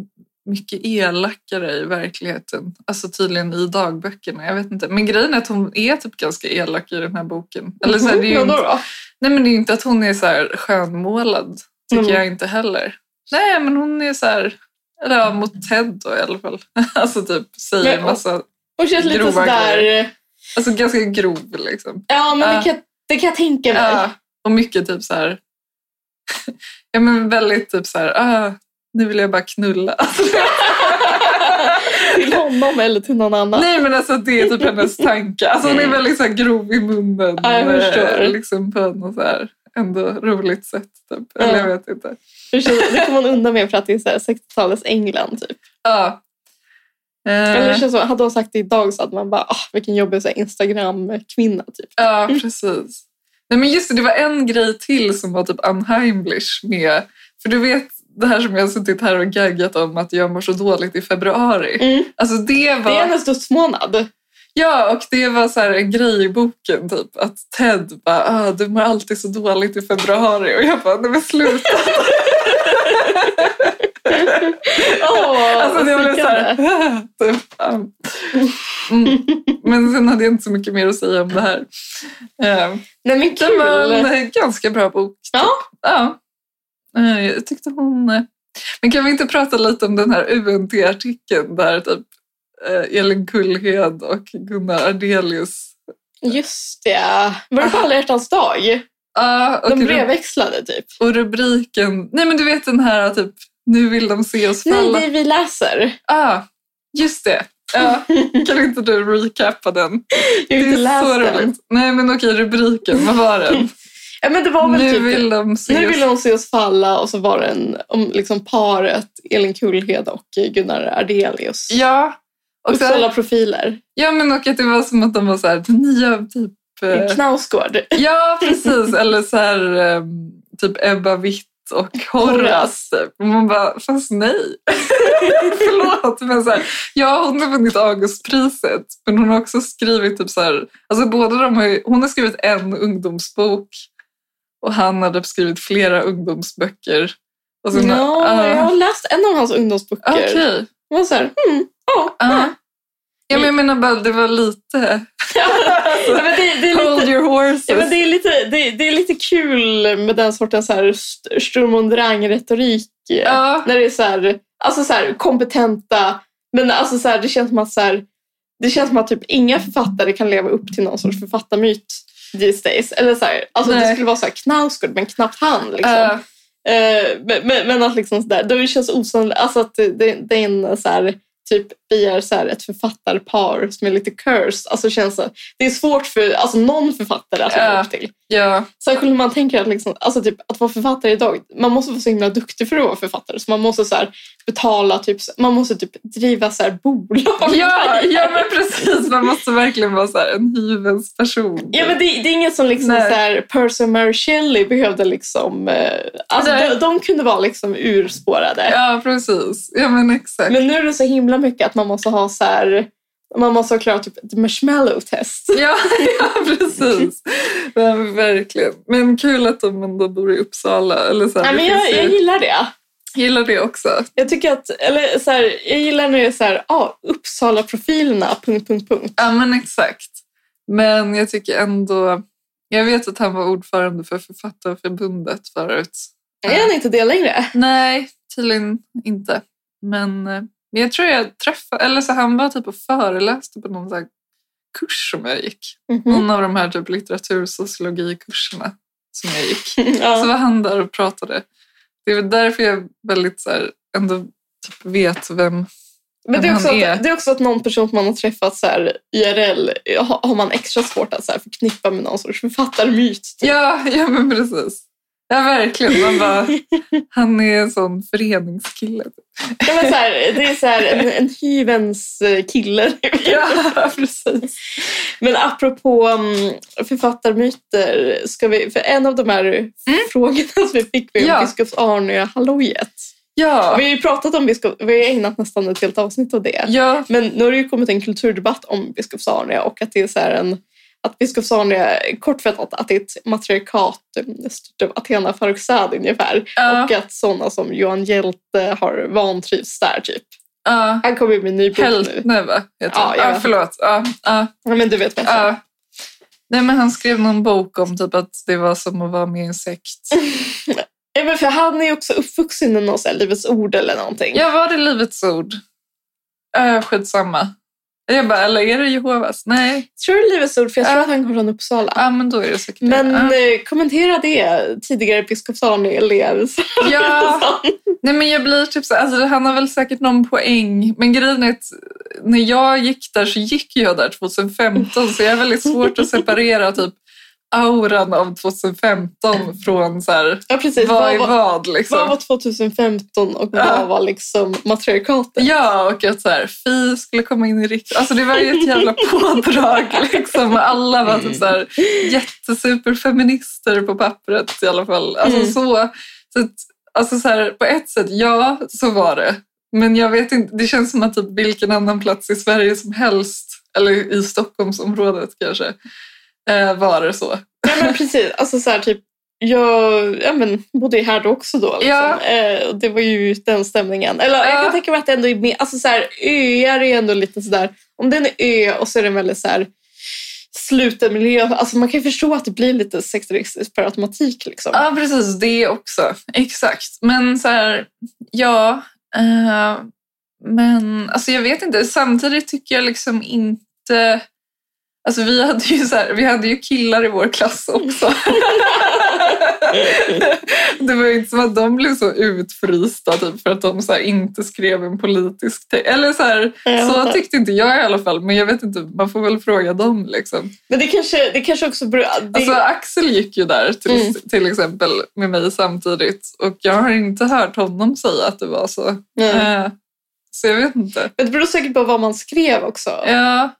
A: mycket elakare i verkligheten. Alltså tydligen i dagböckerna, jag vet inte. Men grejen är att hon är typ ganska elak i den här boken. Eller så här, det är ju
B: Mm, Vadå
A: inte,
B: då?
A: nej men det är ju inte att hon är så här skönmålad, tycker
B: Mm.
A: jag inte heller. Nej men hon är så här, eller ja, mot Ted då i alla fall. (laughs) Alltså typ säger
B: Men-
A: massa,
B: Hon känns lite
A: Grova
B: sådär...
A: Alltså ganska grov liksom.
B: Ja, men
A: Ja.
B: det, kan, det kan jag tänka mig.
A: Ja, och mycket typ så här... (laughs) ja, men väldigt typ så här... Ah, nu vill jag bara knulla. (laughs) Alltså,
B: (laughs) Till honom eller till någon annan.
A: Nej men alltså det är typ hennes tanke. Alltså hon är väldigt så här grov i munnen.
B: Mm. Ja, jag
A: eh,
B: förstår.
A: Liksom på något så här ändå roligt sätt typ. Eller jag
B: Ja.
A: vet inte.
B: Förstår- Det kommer man undan med för att det är så här 60-talets England. Typ.
A: Ja.
B: Eller det
A: Eh,
B: känns så, hade hon sagt det idag så hade man bara "Ah, vilken jobbig så här Instagram-kvinna. Typ.
A: ja precis. Nej men just det, det var en grej till som var typ unheimlich med. För du vet det här som jag har suttit här och gaggat om att jag mår så dåligt i februari.
B: Mm.
A: Alltså det var...
B: Det är
A: (laughs)
B: hennes dödsmånad.
A: Alltså, Ja, och det var så här en grej i boken typ att Ted bara ah, “du mår alltid så dåligt i februari” och jag bara “nej men
B: (laughs)
A: sluta”.
B: Åh,
A: alltså det blev så här, (laughs) typ, ja. mm. Men sen hade jag inte så mycket mer att säga om det här. Eh,
B: Nej men
A: Det var en
B: kul.
A: eh, ganska bra bok.
B: Ja.
A: Ja. Eh, Jag tyckte hon... eh, Men kan vi inte prata lite om den här UNT-artikeln där typ eh, Elin Kullhed och Gunnar Ardelius
B: Just det. Var det på
A: Ah.
B: alla hjärtans dag?
A: Ja, och
B: De
A: Ru-
B: brevväxlade typ.
A: Och rubriken... Nej, men du vet den här typ “Nu vill de se oss
B: Nej,
A: falla”.
B: det är vi (laughs) läser.
A: Ah, just det.
B: (laughs)
A: Ja, kan inte du recappa den?
B: Jag har inte läst
A: så
B: den.
A: roligt. Nej, men okej, rubriken. Vad var
B: (laughs)
A: den?
B: Ja, men det var väl
A: nu
B: typ,
A: vill de se
B: nu
A: oss...
B: vill de se oss falla och så var det en, om liksom paret Elin Kullhed och Gunnar Ardelius.
A: Ja. Och så
B: Uppsala profiler.
A: ja, men och att det var som att de var så här, den nya typ... eh,
B: Knausgård.
A: Ja, precis. Eller så här, ehm, typ Ebba Witt och Horace. typ. Och man bara, fast nej. (laughs) Förlåt, men så här, ja, hon har vunnit Augustpriset. Men hon har också skrivit typ så här, alltså båda de har ju, hon har skrivit en ungdomsbok och han har typ skrivit flera ungdomsböcker. Och sen-
B: Ja,
A: ah,
B: jag har läst en av hans ungdomsböcker.
A: Okej.
B: Jag var så här, hmm, ja.
A: Ah.
B: ja.
A: Ja, men jag menar bara, det var lite... (laughs)
B: Ja, men det, det är
A: Hold
B: lite...
A: your horses.
B: Ja, men det, är lite, det, det är lite kul med den sortens så här st- Sturm und Drang-retorik. eh,
A: ja.
B: När det är så här, alltså så här, kompetenta, men alltså så här, det känns som att så här, det känns som att typ inga författare kan leva upp till någon sorts författarmyt these days. Eller så här, alltså det
A: Nej.
B: skulle vara så här Knausgård, men knappt han. Liksom.
A: eh,
B: Eh, men, men, men att liksom så där, då det känns osannolikt, alltså att det, det det är en så här, typ vi är så här, ett författarpar som är lite cursed. Alltså känns det, det är svårt för alltså, någon författare att leva
A: Ja.
B: upp till.
A: ja.
B: Särskilt när man tänker att, liksom, alltså typ, att vara författare idag, man måste vara så himla duktig för att vara författare. Så man måste så här, betala, typ, så- man måste typ driva så här, bolag.
A: Ja, ja, men precis. Man måste verkligen vara så här, en hyvens person.
B: Ja, men det, det är inget som liksom så
A: Nej.
B: här, Percy Mary Shelley behövde liksom... Eh, alltså,
A: Nej.
B: de, de kunde vara liksom urspårade.
A: Ja, precis. Ja, men exakt.
B: Men nu är det så himla mycket att man måste ha så här... Man måste ha klarat typ ett marshmallow-test.
A: (laughs) Ja, ja precis. Ja, men verkligen. Men kul att de ändå bor i Uppsala. Eller så här,
B: Nej,
A: det
B: men jag,
A: finns ju-
B: jag gillar det.
A: gillar det också.
B: Jag tycker att, eller så här, jag gillar när det är så här, ah, Uppsala-profilerna, punkt, punkt, punkt.
A: Ja, men exakt. Men jag tycker ändå... Jag vet att han var ordförande för Författarförbundet förut.
B: Är han inte det längre?
A: Nej, tydligen inte. Men eh, jag tror jag träffade... Eller så han var typ och föreläste på någon så här kurs som jag gick.
B: Mm.
A: någon av de här typ litteratursociologikurserna som jag gick. Så
B: (laughs) Ja.
A: var han där och pratade. Det är väl därför jag väldigt så här, ändå typ vet vem...
B: Men det är,
A: Men
B: också
A: han är-
B: att, det är också att någon person som man har träffat så här, IRL har, har man extra svårt att så här, förknippa med någon sorts författarmyt. typ.
A: Ja, ja men precis. Ja, verkligen. Man
B: (laughs)
A: bara, han är en sån föreningskille.
B: Ja, men så här, det är så här, en, en hyvens eh, kille. (laughs)
A: Ja, precis.
B: Men apropå mm, författarmyter, ska vi, för en av de här frågorna som vi fick var ju
A: Mm.
B: om
A: Ja.
B: biskops Arnö-hallojet.
A: Ja,
B: Vi har ju pratat om biskop, vi har ägnat nästan ett helt avsnitt åt det.
A: ja,
B: Men nu har det ju kommit en kulturdebatt om biskops Arnö och att det är så här en att biskops Arnö, kortfattat, att det är ett matriarkat mm, styrt av Athena Farrokhzad ungefär.
A: ja,
B: Och att sådana som Johan Hjälte har vantrivs där typ.
A: ja.
B: Han kommer ju med en ny bok nu.
A: Hältne, va? Heter
B: Ja,
A: han.
B: ja.
A: ja, förlåt. Ja, ja.
B: Ja, men du vet bättre.
A: Ja. Nej, men han skrev någon bok om typ att det var som att vara med i en sekt.
B: Ja, men för han är ju också uppvuxen i någon så här Livets Ord eller någonting.
A: Ja, var det Livets ord? Äh, skitsamma. Jag bara, eller är det Jehovas? Nej,
B: Tror du Livets Ord? För jag tror
A: Ja.
B: att han kommer från Uppsala.
A: ja, men då är det säkert
B: Men
A: det.
B: eh, kommentera det, tidigare biskopsson-elev.
A: Ja. ja, nej men jag blir typ så alltså han har väl säkert någon poäng. Men grejen är att när jag gick där så gick jag där 2015 så jag är väldigt svårt att separera typ auran av 2015 från så här,
B: (laughs) Ja, precis.
A: vad är
B: Typ Vad var,
A: vad liksom.
B: vad var 2015 och vad
A: Ja.
B: var liksom matriarkatet?
A: Ja, och att så här, Fi skulle komma in i riksdagen. Alltså det var ju ett jävla pådrag. Liksom. Och Alla var typ så här, jättesuperfeminister på pappret i alla fall. Alltså,
B: Mm.
A: så, så att, alltså så här, på ett sätt, ja, så var det. Men jag vet inte, det känns som att typ vilken annan plats i Sverige som helst, eller i Stockholmsområdet kanske, eh, var det så.
B: Nej, men precis. Alltså så här, typ, jag ja, men, bodde ju här då också då. Liksom.
A: Ja.
B: Eh, och det var ju den stämningen. Eller jag
A: Ja.
B: kan tänka mig att det ändå är mer, alltså så här, öar är ändå lite sådär, om det är en ö och så är det en väldigt så här sluten miljö. Alltså man kan ju förstå att det blir lite sekteristiskt per automatik. Liksom.
A: Ja, precis. Det också. Exakt. Men så här, ja. eh, men alltså jag vet inte. Samtidigt tycker jag liksom inte... Alltså vi hade ju, så här, vi hade ju killar i vår klass också. det var ju inte som att de blev så utfrysta typ, för att de så här, inte skrev en politisk text. Eller så, här,
B: Ja.
A: så tyckte inte jag i alla fall. Men jag vet inte, man får väl fråga dem. Liksom.
B: Men det kanske, det kanske också beror... Det,
A: Alltså, Axel gick ju där till,
B: Mm.
A: till exempel med mig samtidigt och jag har inte hört honom säga att det var så.
B: Nej.
A: Eh, så jag vet inte.
B: Men det beror säkert på vad man skrev också.
A: Ja.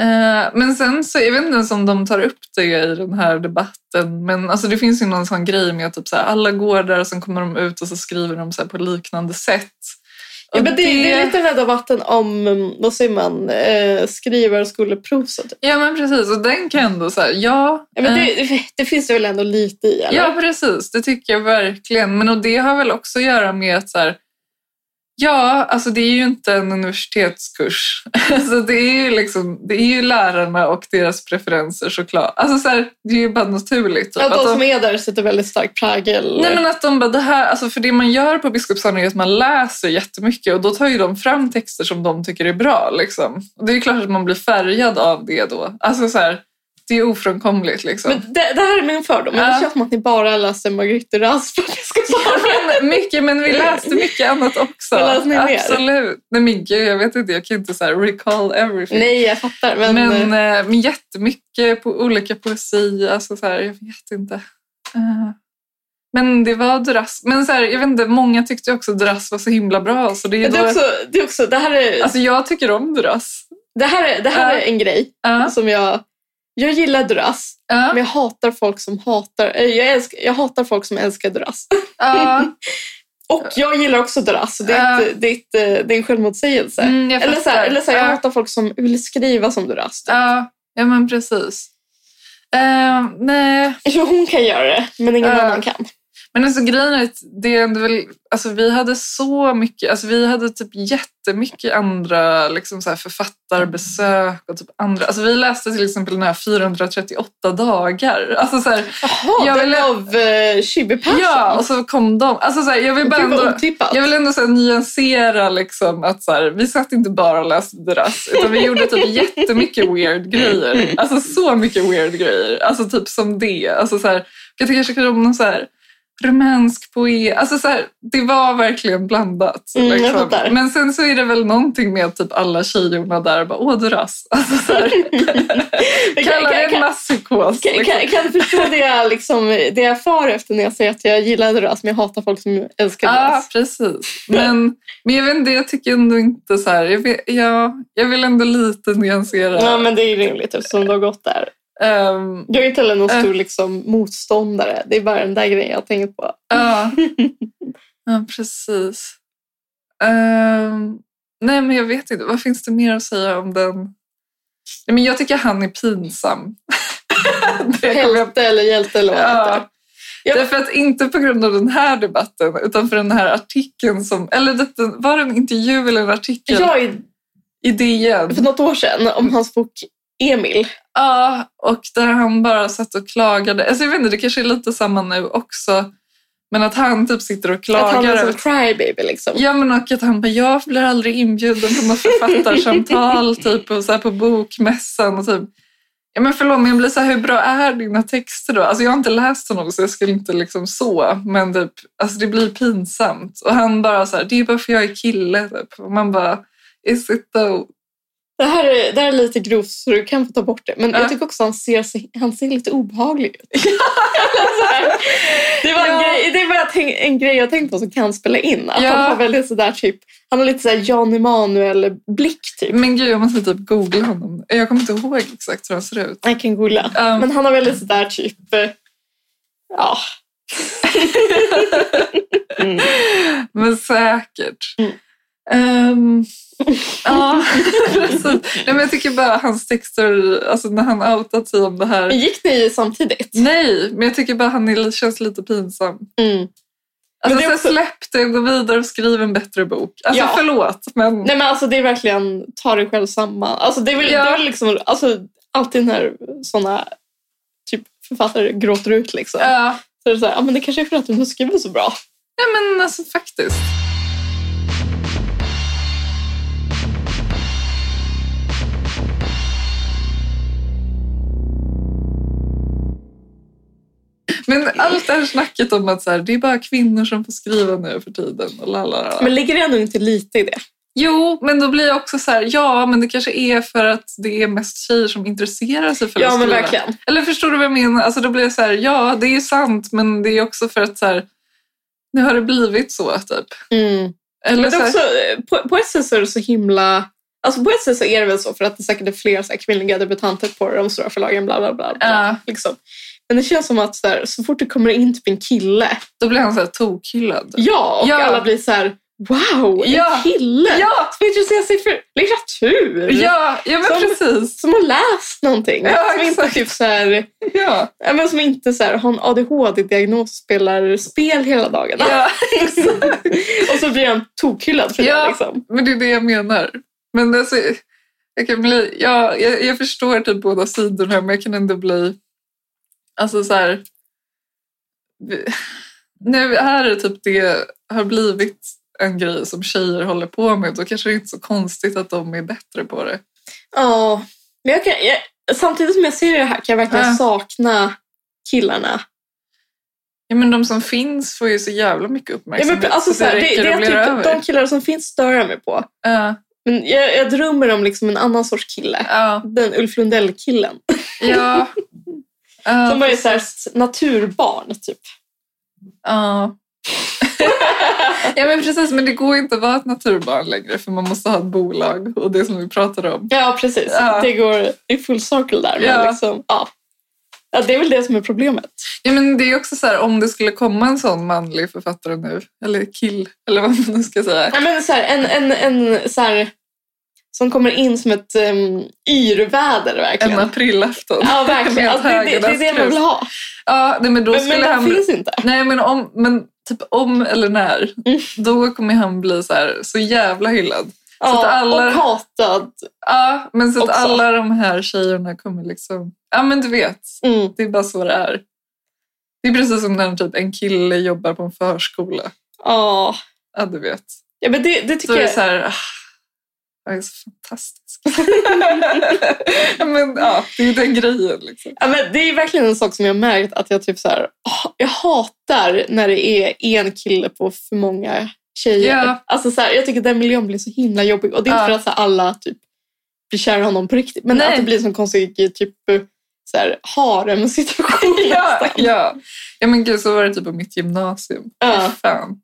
A: Eh, men sen så, jag vet inte ens om de tar upp det i den här debatten, men alltså det finns ju någon sån grej med att typ så här, alla går där och sen kommer de ut och så skriver de så här på liknande sätt.
B: Ja,
A: Och
B: men det, det är lite den här debatten om, mm, vad säger man, eh, skrivar och skolprov. Så typ.
A: Ja men precis, och den kan jag ändå säga, ja.
B: ja, men
A: eh,
B: det, det finns det väl ändå lite i? Eller?
A: Ja, precis. Det tycker jag verkligen. Men och det har väl också att göra med att så här, ja, alltså det är ju inte en universitetskurs. (laughs) Alltså det, är ju liksom, det är ju lärarna och deras preferenser såklart. Alltså så här, det är ju bara naturligt. Typ.
B: Att de
A: de-
B: som är där sätter väldigt stark prägel.
A: Nej men att de bara, det här, alltså för det man gör på Biskopsson är att man läser jättemycket och då tar ju de fram texter som de tycker är bra. Liksom. Och det är ju klart att man blir färgad av det då. Alltså så här, det är ofrånkomligt liksom.
B: men det, det här är min fördom. Men
A: Ja.
B: det känns som att ni bara läser Marguerite Duras på Biskopsholmen.
A: Men mycket, men vi läste mycket annat också.
B: Vad läste ni mer?
A: Absolut. Nej men gud, jag vet inte, jag kan inte så här recall everything.
B: Nej, jag fattar. Men,
A: men, eh, men jättemycket på olika poesi, alltså så här, jag vet inte. Eh, Men det var Duras. Men så här, jag vet inte, många tyckte också Duras var så himla bra. Så det är
B: det,
A: då,
B: är också, det, är också, det här är,
A: Alltså jag tycker om Duras.
B: det här är, det här
A: Ja.
B: är en grej
A: Ja,
B: som jag... Jag gillar Duras, men
A: ja,
B: jag hatar folk som hatar... eh, Jag, älsk, jag hatar folk som älskar Duras.
A: ja.
B: Och jag gillar också Duras. så Det är,
A: Ja.
B: ett, det är, ett, eh, det är en självmotsägelse.
A: Mm, jag
B: eller så
A: fattar.
B: här, eller så här, jag
A: Ja.
B: hatar folk som vill skriva som Duras. typ.
A: Ja, ja men precis. Eh, nej,
B: Så hon kan göra det, men ingen
A: Ja.
B: annan kan.
A: Men alltså grejen är att det är ändå väl, alltså, vi hade så mycket, alltså, vi hade typ jättemycket andra liksom, så här, författarbesök och typ andra, alltså, vi läste till exempel den här 438 dagar. Alltså, så här,
B: Jaha,
A: Jag
B: den
A: vill-
B: av eh, Shibi Persson.
A: ja, och så kom de. Alltså, så här, jag vill bara
B: Gud vad
A: ändå,
B: otippat.
A: jag vill ändå så här, nyansera liksom, att så här, vi satt inte bara och läste Duras utan vi gjorde typ jättemycket weird grejer. Alltså så mycket weird grejer. Alltså typ som det. Alltså, så här, jag tycker kanske om någon så här rumänsk poet. Alltså så här, det var verkligen blandat.
B: Mm, jag
A: liksom.
B: fattar.
A: Men sen så är det väl någonting med att typ alla tjejorna där bara åh Duras. Alltså, så
B: (laughs)
A: här,
B: Men kan,
A: kallar det
B: kan,
A: en
B: kan,
A: masspsykos.
B: kan,
A: liksom.
B: kan, kan du förstå det jag, liksom, det jag far efter när jag säger att jag gillar Duras men jag hatar folk som älskar Alltså.
A: Ja,
B: Duras?
A: precis. Men, men jag vet inte, jag tycker ändå inte så här. Jag, vet, ja, jag vill ändå lite nyansera.
B: Ja, men det är ju rimligt eftersom du har gått där.
A: Ehm,
B: Du är inte heller någon
A: Äh.
B: stor liksom, motståndare. Det är bara den där grejen jag har tänkt på. (laughs)
A: ja. ja, precis. Ehm, nej, men jag vet inte. Vad finns det mer att säga om den? Nej, men jag tycker han är
B: (laughs)
A: pinsam. det kommer jag
B: Hjälte eller hjälte eller vad det heter.
A: Ja.
B: Ja.
A: Därför att inte på grund av den här debatten utan för den här artikeln som, eller det- den- var det en intervju eller en artikel
B: Jag är
A: i DN?
B: för något år sedan om hans bok Emil.
A: Ja, och där han bara satt och klagade. Alltså jag vet inte, det kanske är lite samma nu också. Men att han typ sitter och
B: Att han
A: klagar.
B: är
A: över-
B: som crybaby liksom.
A: Ja men och att han bara, jag blir aldrig inbjuden på något
B: (laughs)
A: författarsamtal typ och så här på bokmässan och typ. Ja men förlåt men jag blir så här, hur bra är dina texter då? Alltså jag har inte läst honom så jag skulle inte liksom så. Men typ, alltså det blir pinsamt. Och han bara så här, det är bara för jag är kille typ. Och man bara, is it though?
B: Det här, är, det här är lite grovt så du kan få ta bort det. Men
A: Ja.
B: jag tycker också han ser, sig- han ser lite obehaglig ut.
A: (laughs)
B: Så här. det var, en,
A: Ja.
B: grej, det var ett- en grej jag tänkte på som kan spela in. Att
A: Ja.
B: han, har väldigt sådär, typ, han har lite sådär Jan Emanuel-blick typ.
A: Men gud jag måste typ googla honom. Jag kommer inte ihåg exakt hur han ser ut.
B: Jag kan googla.
A: Um,
B: Men han har väldigt sådär typ... eh, Ja. mm.
A: Men säkert.
B: Mm. (laughs)
A: Ehm, ja, (laughs) precis. Nej, men jag tycker bara hans texter, alltså när han outat sig om det
B: Men
A: här.
B: Gick ni samtidigt?
A: Nej, men jag tycker bara han är, känns lite pinsam.
B: Mm.
A: Alltså,
B: det är
A: så
B: också-
A: Släpp det, gå vidare och skriv en bättre bok. Alltså
B: Ja.
A: förlåt, men
B: Nej men alltså det är verkligen ta dig själv samman. Alltså det är väl,
A: Ja.
B: det är väl liksom, alltså, alltid när såna typ, författare gråter ut liksom.
A: Ja,
B: Så är det så här, ja men det kanske är för att du inte skriver så bra.
A: nej, men alltså faktiskt. Men allt det här snacket om att så här, det är bara kvinnor som får skriva nu för tiden. Och lalala.
B: Men ligger det ändå inte lite i det?
A: jo, men då blir jag också så här, ja, men det kanske är för att det är mest tjejer som intresserar sig för att
B: ja men
A: skriva.
B: verkligen.
A: Eller förstår du vad jag menar? Alltså, då blir jag så här, ja, det är ju sant, men det är också för att så här, nu har det blivit så, typ. Eller
B: Mm. Men det
A: så
B: är
A: här,
B: också, eh, på, på ett sätt så är det så himla... Alltså på ett sätt så är det väl så för att det säkert är fler så här, kvinnliga debutanter på de stora förlagen. Bla, bla, bla, bla,
A: Ja.
B: liksom. Men det känns som att så, här, så fort det kommer in typ en kille,
A: då blir han så här tokhyllad.
B: ja, och
A: Ja.
B: alla blir så här wow, en
A: Ja.
B: kille!
A: Ja,
B: som intresserar sig för litteratur.
A: ja, ja men
B: Som-
A: precis.
B: Som har läst någonting.
A: Ja,
B: som, inte
A: exakt.
B: typ så här,
A: Ja,
B: ja, men som inte så här, har en ADHD-diagnos och spelar spel hela dagarna.
A: ja.
B: och så blir han tokhyllad för det.
A: Ja.
B: Liksom.
A: Men det är det jag menar. Men alltså, jag, kan bli, ja, jag, jag förstår typ båda sidorna, men jag kan ändå bli... Alltså så här... vi- Nu här är typ det har blivit en grej som tjejer håller på med. Då kanske det är inte så konstigt att de är bättre på det.
B: Ja. Men jag kan, jag, samtidigt som jag ser det här kan jag verkligen
A: Ja.
B: sakna killarna.
A: Ja, men de som finns får ju så jävla mycket
B: Ja,
A: uppmärksamhet.
B: men, alltså,
A: Liksom, så
B: så här, det, det
A: räcker och
B: är
A: blir över.
B: typ de killar som finns stör jag mig på.
A: Ja,
B: Men jag, jag drömmer om liksom en annan sorts kille.
A: ja,
B: Den Ulf Lundell-killen.
A: ja. Ja,
B: (laughs) som är så här, naturbarn, typ.
A: Ja. (laughs) ja men precis, men det går inte att vara ett naturbarn längre för man måste ha ett bolag och det som vi pratade om.
B: Ja, precis.
A: Ja.
B: Det går i full circle där. Men
A: Ja.
B: Liksom, ja. Ja, det är väl det som är problemet.
A: Ja men det är också så här om det skulle komma en sån manlig författare nu, eller kill, eller vad man nu ska säga.
B: Ja, men så här, en en, en så här, som kommer in som ett um, yrväder
A: En
B: verkligen.
A: aprilafton.
B: ja, verkligen.
A: med
B: Alltså, det, det, det är det man vill ha.
A: Ja, nej, men då
B: Men, men
A: skulle
B: det
A: han...
B: finns inte.
A: Nej men om, men typ om eller när,
B: Mm.
A: då kommer han bli så här så jävla hyllad.
B: Ja,
A: att alla-
B: Och hatad.
A: Ja, men så att
B: Också.
A: alla de här tjejerna kommer liksom... Ja men du vet,
B: Mm.
A: Det är bara så det är. Det är precis som när typ en kille jobbar på en förskola.
B: Ja.
A: Ja, du vet.
B: ja, men det, det
A: Så
B: tycker
A: är det
B: jag.
A: så här... "Ah, Jag är så
B: (laughs)
A: fantastisk. Ja, men, ja, det är ju den grejen. Liksom.
B: Ja, men det är verkligen en sak som jag har märkt att jag typ så här, åh, jag hatar när det är en kille på för många tjejer.
A: Ja.
B: Alltså så här, jag tycker den miljön blir så himla jobbig. Och det är inte
A: Ja.
B: för att så här, alla typ blir kära i honom på riktigt. Men
A: Nej.
B: att det blir som konstig typ så här, harem-situation.
A: (laughs) Ja,
B: nästan.
A: ja. ja, men gud, så var det typ på mitt gymnasium.
B: Ja.
A: Fan.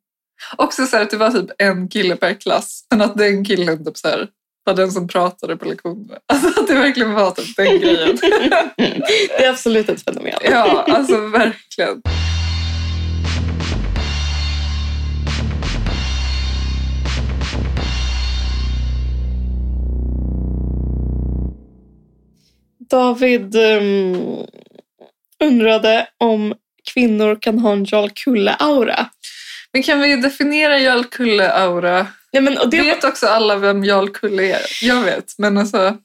A: Också så här att det var typ en kille per klass, men att den killen typ så här, var den som pratade på lektionerna. (laughs) Alltså att det verkligen var typ den
B: (laughs)
A: grejen.
B: Det är absolut ett fenomen.
A: Ja, alltså verkligen.
B: David ehm, undrade om kvinnor kan ha en Jarl Kulle-aura.
A: Men kan vi definiera Jarl Kulle-aura?
B: Nej, men, och det,
A: Vet också alla vem Jarl Kulle är? Jag vet, men alltså...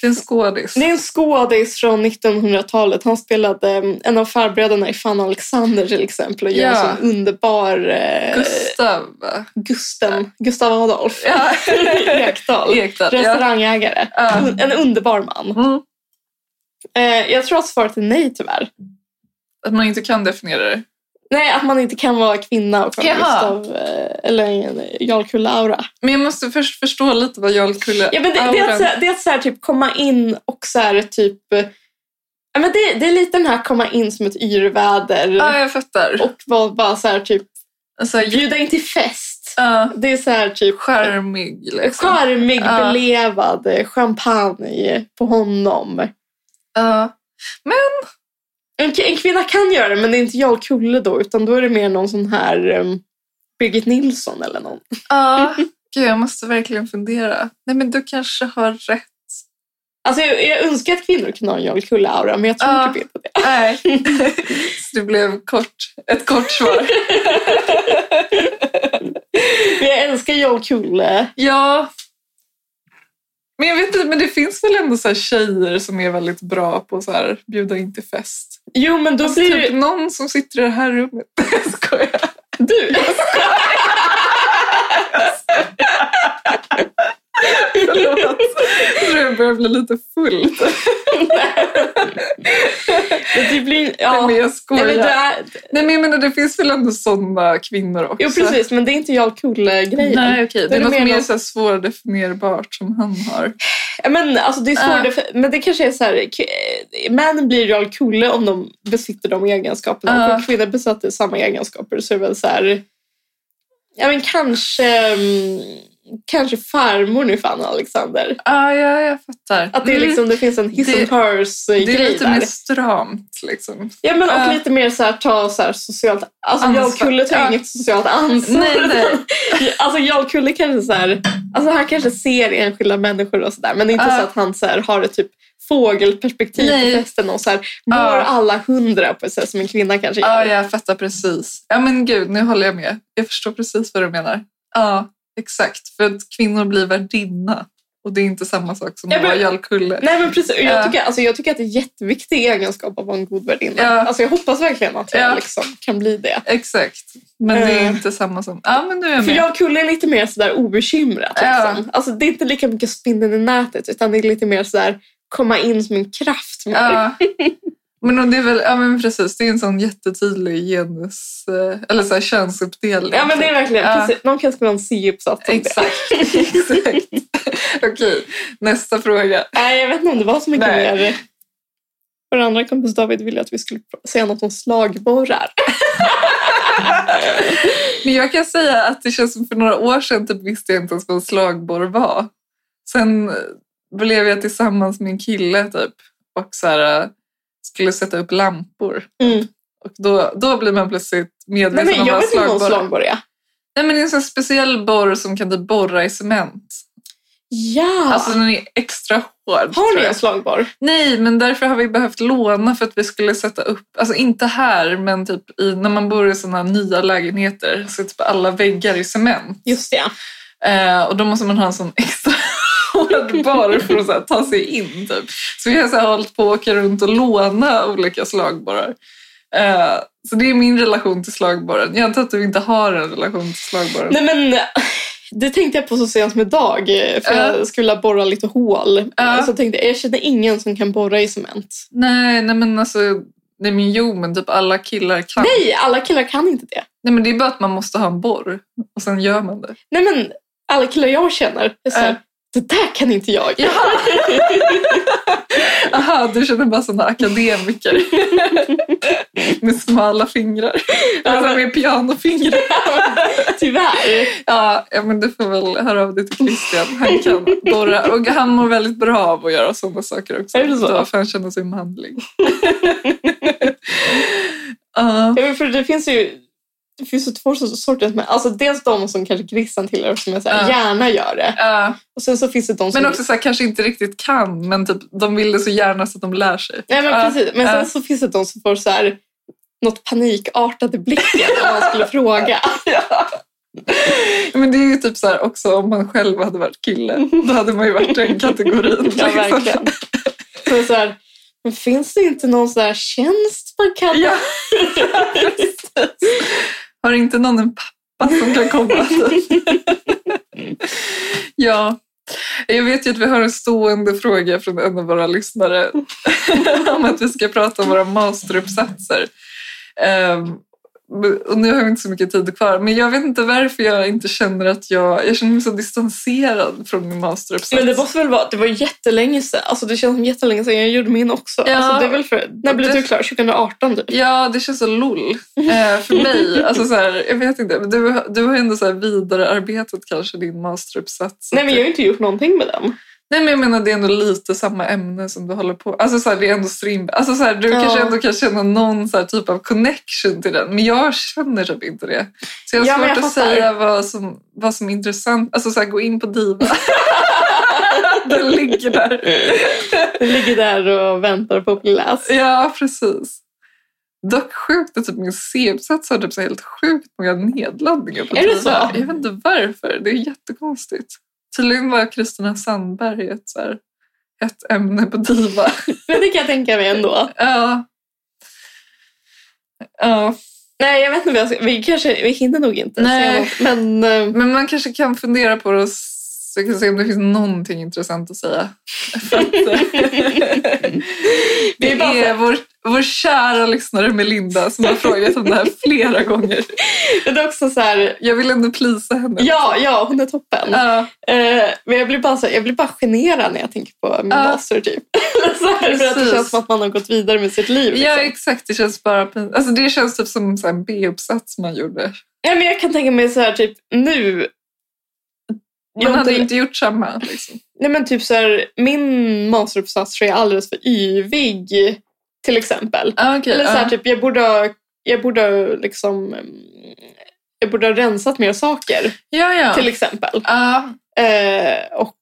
A: Det är en skådis.
B: Det är en skådis från 1900-talet. Han spelade eh, en av farbröderna i Fan Alexander till exempel och gör
A: Ja.
B: en sån underbar eh,
A: Gustav va?
B: Gusten, Gustav Adolf (laughs)
A: Ja.
B: Ekdahl.
A: Ekdahl. Ja.
B: Restaurangägare.
A: Ja.
B: En underbar man.
A: Mm.
B: Eh, jag tror att svaret är nej tyvärr.
A: Att man inte kan definiera det.
B: Nej, att man inte kan vara kvinna och
A: Jaha.
B: vara Gustav eh, eller Jarl-Kull-aura.
A: Men jag måste först förstå lite vad Jarl Kulle...
B: Ja, men det, det, är att, så här- det är att så här, typ, komma in och så här, typ... eh, Ja, men det, det är lite den här komma in som ett yrväder
A: Ja, jag fattar.
B: och vara bara så här, typ,
A: Alltså, ju-
B: bjuda in till fest.
A: ja,
B: Det är så här, typ...
A: charmig liksom.
B: Charmig,
A: Ja.
B: belevad, eh, champagne på honom.
A: Ja.
B: En, en kvinna kan göra det, men det är inte Jarl Kulle då, utan då är det mer någon sån här um, Birgit Nilsson eller någon. (laughs)
A: Ja, gud jag måste verkligen fundera. Nej men du kanske har
B: (laughs)
A: rätt.
B: Alltså, jag, jag önskar att kvinnor kunde ha en Jarl Kulle-aura, men jag tror
A: Ja.
B: typ inte det. (laughs)
A: Nej. (laughs) Så det blev kort, ett kort svar.
B: Men jag älskar Jarl Kulle.
A: Ja. Men jag vet inte, men det finns väl ändå så här tjejer som är väldigt bra på så här bjuda in till fest.
B: Jo, men då
A: Alltså
B: blir
A: typ någon som sitter i det här rummet. (laughs) Jag skojar.
B: (laughs) Du!
A: (laughs) Förlåt. Jag tror jag börjar bli lite full.
B: Det blir...
A: Nej,
B: Ja.
A: men jag
B: Nej,
A: skojar.
B: men det är,
A: Nej men jag menar det finns väl ändå sådana kvinnor också.
B: jo, precis. Men det är inte Jarl Kulle-grejen.
A: Nej okej,
B: Då
A: det
B: är
A: är
B: det
A: något
B: mer
A: mer
B: någon-
A: så här svårdefinierbart som han har.
B: Men, alltså, det är svårt,
A: Ja.
B: för- men det kanske är så här... k- eh, Män blir Jarl Kulle om de besitter de egenskaperna.
A: Ja.
B: Och om kvinnor besitter samma egenskaper så är det väl så här... Ja, men kanske... mm, Kanske farmor nu fan Alexander.
A: Ah, ja, jag fattar.
B: Att det, är
A: Mm.
B: liksom, det finns en his
A: Det-
B: and hers-grej
A: det är lite
B: där.
A: mer stramt liksom.
B: Ja, men och
A: Ja.
B: lite mer så här, ta så här socialt... Alltså
A: Ansvar.
B: Jarl Kulle tar
A: Ja.
B: inget socialt ansvar.
A: Nej, nej.
B: Alltså Jarl Kulle kanske så här, alltså han kanske ser enskilda människor och sådär men det är inte
A: Ja.
B: så att han så här, har ett typ fågelperspektiv
A: Nej.
B: på festen och så här,
A: Ja.
B: når alla hundra på ett sätt som en kvinna kanske
A: Ja,
B: gör.
A: jag fattar precis. Ja, men gud, nu håller jag med. Jag förstår precis vad du menar. Ja, exakt. För att kvinnor blir värdinna. Och det är inte samma sak som
B: Ja,
A: att vara
B: men-
A: Jarlkulle.
B: Nej men precis, Och
A: Ja.
B: jag tycker, alltså, jag tycker att det är en jätteviktig egenskap att vara en god värdinna.
A: Ja.
B: Alltså, jag hoppas verkligen att jag
A: Ja.
B: liksom, kan bli det.
A: Exakt. Men det är
B: Eh.
A: inte samma som... Ja, men nu är jag
B: För
A: med.
B: Jarl Kulle är lite mer sådär obekymrat.
A: Ja.
B: Liksom. Alltså, det är inte lika mycket spindeln i nätet utan det är lite mer sådär komma in som en kraft. mer.
A: Ja. Men och det är väl, ja men precis, det är en sån jättetydlig genus, eh, eller så här könsuppdelning.
B: Ja men det är verkligen,
A: Ja.
B: precis, någon kan skriva en C-uppsats om det.
A: Exakt. (laughs) exakt. Okej, nästa fråga.
B: Nej, jag vet inte om det var så mycket
A: Nej.
B: mer. Vår andra kompis David ville att vi skulle pr- säga något om slagborrar.
A: Men jag kan säga att det känns som för några år sedan typ visste jag inte ens vad en slagborr var. Sen eh, blev jag tillsammans med en kille typ och så här, eh, skulle sätta upp lampor.
B: Mm.
A: Och då, då blir man plötsligt
B: Nej,
A: medveten
B: men
A: om
B: jag
A: vad
B: vet inte vad en
A: slagborr
B: slagborr är.
A: Nej men det är en sån speciell borr som kan typ borra i cement.
B: Ja!
A: Alltså den är extra hård.
B: har
A: tror
B: ni
A: jag.
B: en slagborr?
A: Nej, men därför har vi behövt låna för att vi skulle sätta upp, alltså inte här, men typ i, när man bor i sådana nya lägenheter så är typ alla väggar i cement.
B: Just det.
A: Eh, och då måste man ha en sån extra hård borr för att så här, ta sig in. Typ. Så vi har så här, hållit på att åka runt och låna olika slagborrar. Eh, så det är min relation till slagborren. Jag antar att du inte har en relation till slagborren.
B: Nej, men (sighs) det tänkte jag på så sent som idag. För
A: Ja.
B: jag skulle borra lite hål.
A: Ja.
B: Så tänkte jag, jag känner ingen som kan borra i cement.
A: Nej, nej men alltså, nej men jo men typ alla killar kan. Nej.
B: Nej, alla killar kan inte det.
A: nej men det är bara att man måste ha en borr och sen gör man det. Eh,
B: Nej, men alla killar jag känner är så här,
A: Ja.
B: det där kan inte jag. (laughs)
A: Jaha. Aha, du känner bara sådana
B: (laughs)
A: akademiker. med smala fingrar. Alltså med pianofingrar.
B: Tyvärr.
A: Ja, ja, men du får väl höra av dig till Christian. Han kan borra. Och han mår väldigt bra av att göra sådana saker också.
B: Är det så?
A: Då får han känna sig manlig.
B: (laughs)
A: Ja,
B: Ja, men för det finns ju det finns ju två sorters män. Alltså dels de som kanske grissan tillhör som jag så här,
A: Ja.
B: gärna gör det.
A: ja.
B: Och sen så finns det de som...
A: Men också så här, kanske inte riktigt kan, men typ, de vill det så gärna så att de lär sig.
B: Nej, men,
A: Ja,
B: precis. men
A: ja.
B: sen så finns det
A: (laughs)
B: de som får så här, något panikartat i blicken om man skulle fråga.
A: Men det är ju typ så här också om man själv hade varit kille. Då hade man ju varit den kategorin.
B: Ja,
A: liksom.
B: verkligen. Så så här, men finns det inte någon så här tjänst man (laughs) kan...
A: Ja. Har inte någon en pappa som kan
B: (laughs)
A: komma? ja. Jag vet ju att vi har en stående fråga från en av våra
B: (laughs)
A: lyssnare om att vi ska prata om våra masteruppsatser. Ehm, och nu har vi inte så mycket tid kvar, men jag vet inte varför jag inte känner att jag... Jag känner mig så distanserad från min masteruppsats.
B: Men det måste väl vara, det var jättelänge sedan, alltså det känns som jättelänge sedan jag gjorde min också.
A: Ja.
B: Alltså det är väl för, när blev
A: Det-
B: du klar? 2018 typ?
A: Ja, det känns så
B: (laughs)
A: lol eh, för mig. Alltså, så här, jag vet inte, men du, du har ju ändå så här vidarearbetat kanske din masteruppsats. Typ.
B: Nej men jag har inte gjort någonting med den.
A: Nej, men jag menar det är ändå lite samma ämne som du håller på Alltså så här, det är ändå strimb... Alltså så här, du
B: Ja.
A: kanske ändå kan känna någon så här typ av connection till den, men jag känner typ inte det. Så jag har
B: Ja, men
A: svårt
B: jag
A: att
B: fattar.
A: säga vad som, vad som är intressant. Alltså så här, gå in på Diva. (laughs) den ligger där.
B: Den ligger där och väntar på att bli läst.
A: Ja, precis. Dock sjukt att typ min C-uppsats har typ så här helt sjukt många nedladdningar på
B: Är det
A: Diva.
B: så?
A: Jag vet inte varför. Det är jättekonstigt. Tydligen var Kristina Sandberg ett, så här, ett ämne på Diva. (laughs)
B: (laughs) Men det kan jag tänka mig ändå.
A: Ja. Ja,
B: Nej jag vet inte vad jag ska, vi kanske, vi hinner nog inte säga
A: Nej.
B: något.
A: (laughs)
B: Men eh,
A: men man kanske kan fundera på det och s- så kan vi se om det finns någonting intressant att säga. För att, eh,
B: (laughs) Det
A: det
B: är bara så
A: är vår, vår kära lyssnare Melinda som har frågat om det här flera gånger.
B: det är också så här,
A: Jag vill ändå plisa henne.
B: ja, ja hon är toppen.
A: Ja,
B: Eh, men jag blir, bara så här, jag blir bara generad när jag tänker på min
A: Ja.
B: master typ. (laughs) så här, för att det
A: Precis.
B: känns som att man har gått vidare med sitt liv.
A: ja,
B: (laughs) liksom.
A: exakt. Det känns bara pin- alltså, Det känns typ som så här en B-uppsats man gjorde.
B: Ja, men jag kan tänka mig så här typ nu. Jag
A: Man hade ju
B: inte-
A: inte gjort samma. Liksom.
B: Nej men typ så här, min masteruppsats tror jag är alldeles för yvig till exempel.
A: Ah, okay,
B: Eller så här,
A: ja.
B: typ jag borde ha, jag borde ha liksom mm, jag borde ha rensat mer saker
A: ja, ja.
B: till exempel.
A: Ja.
B: Eh, och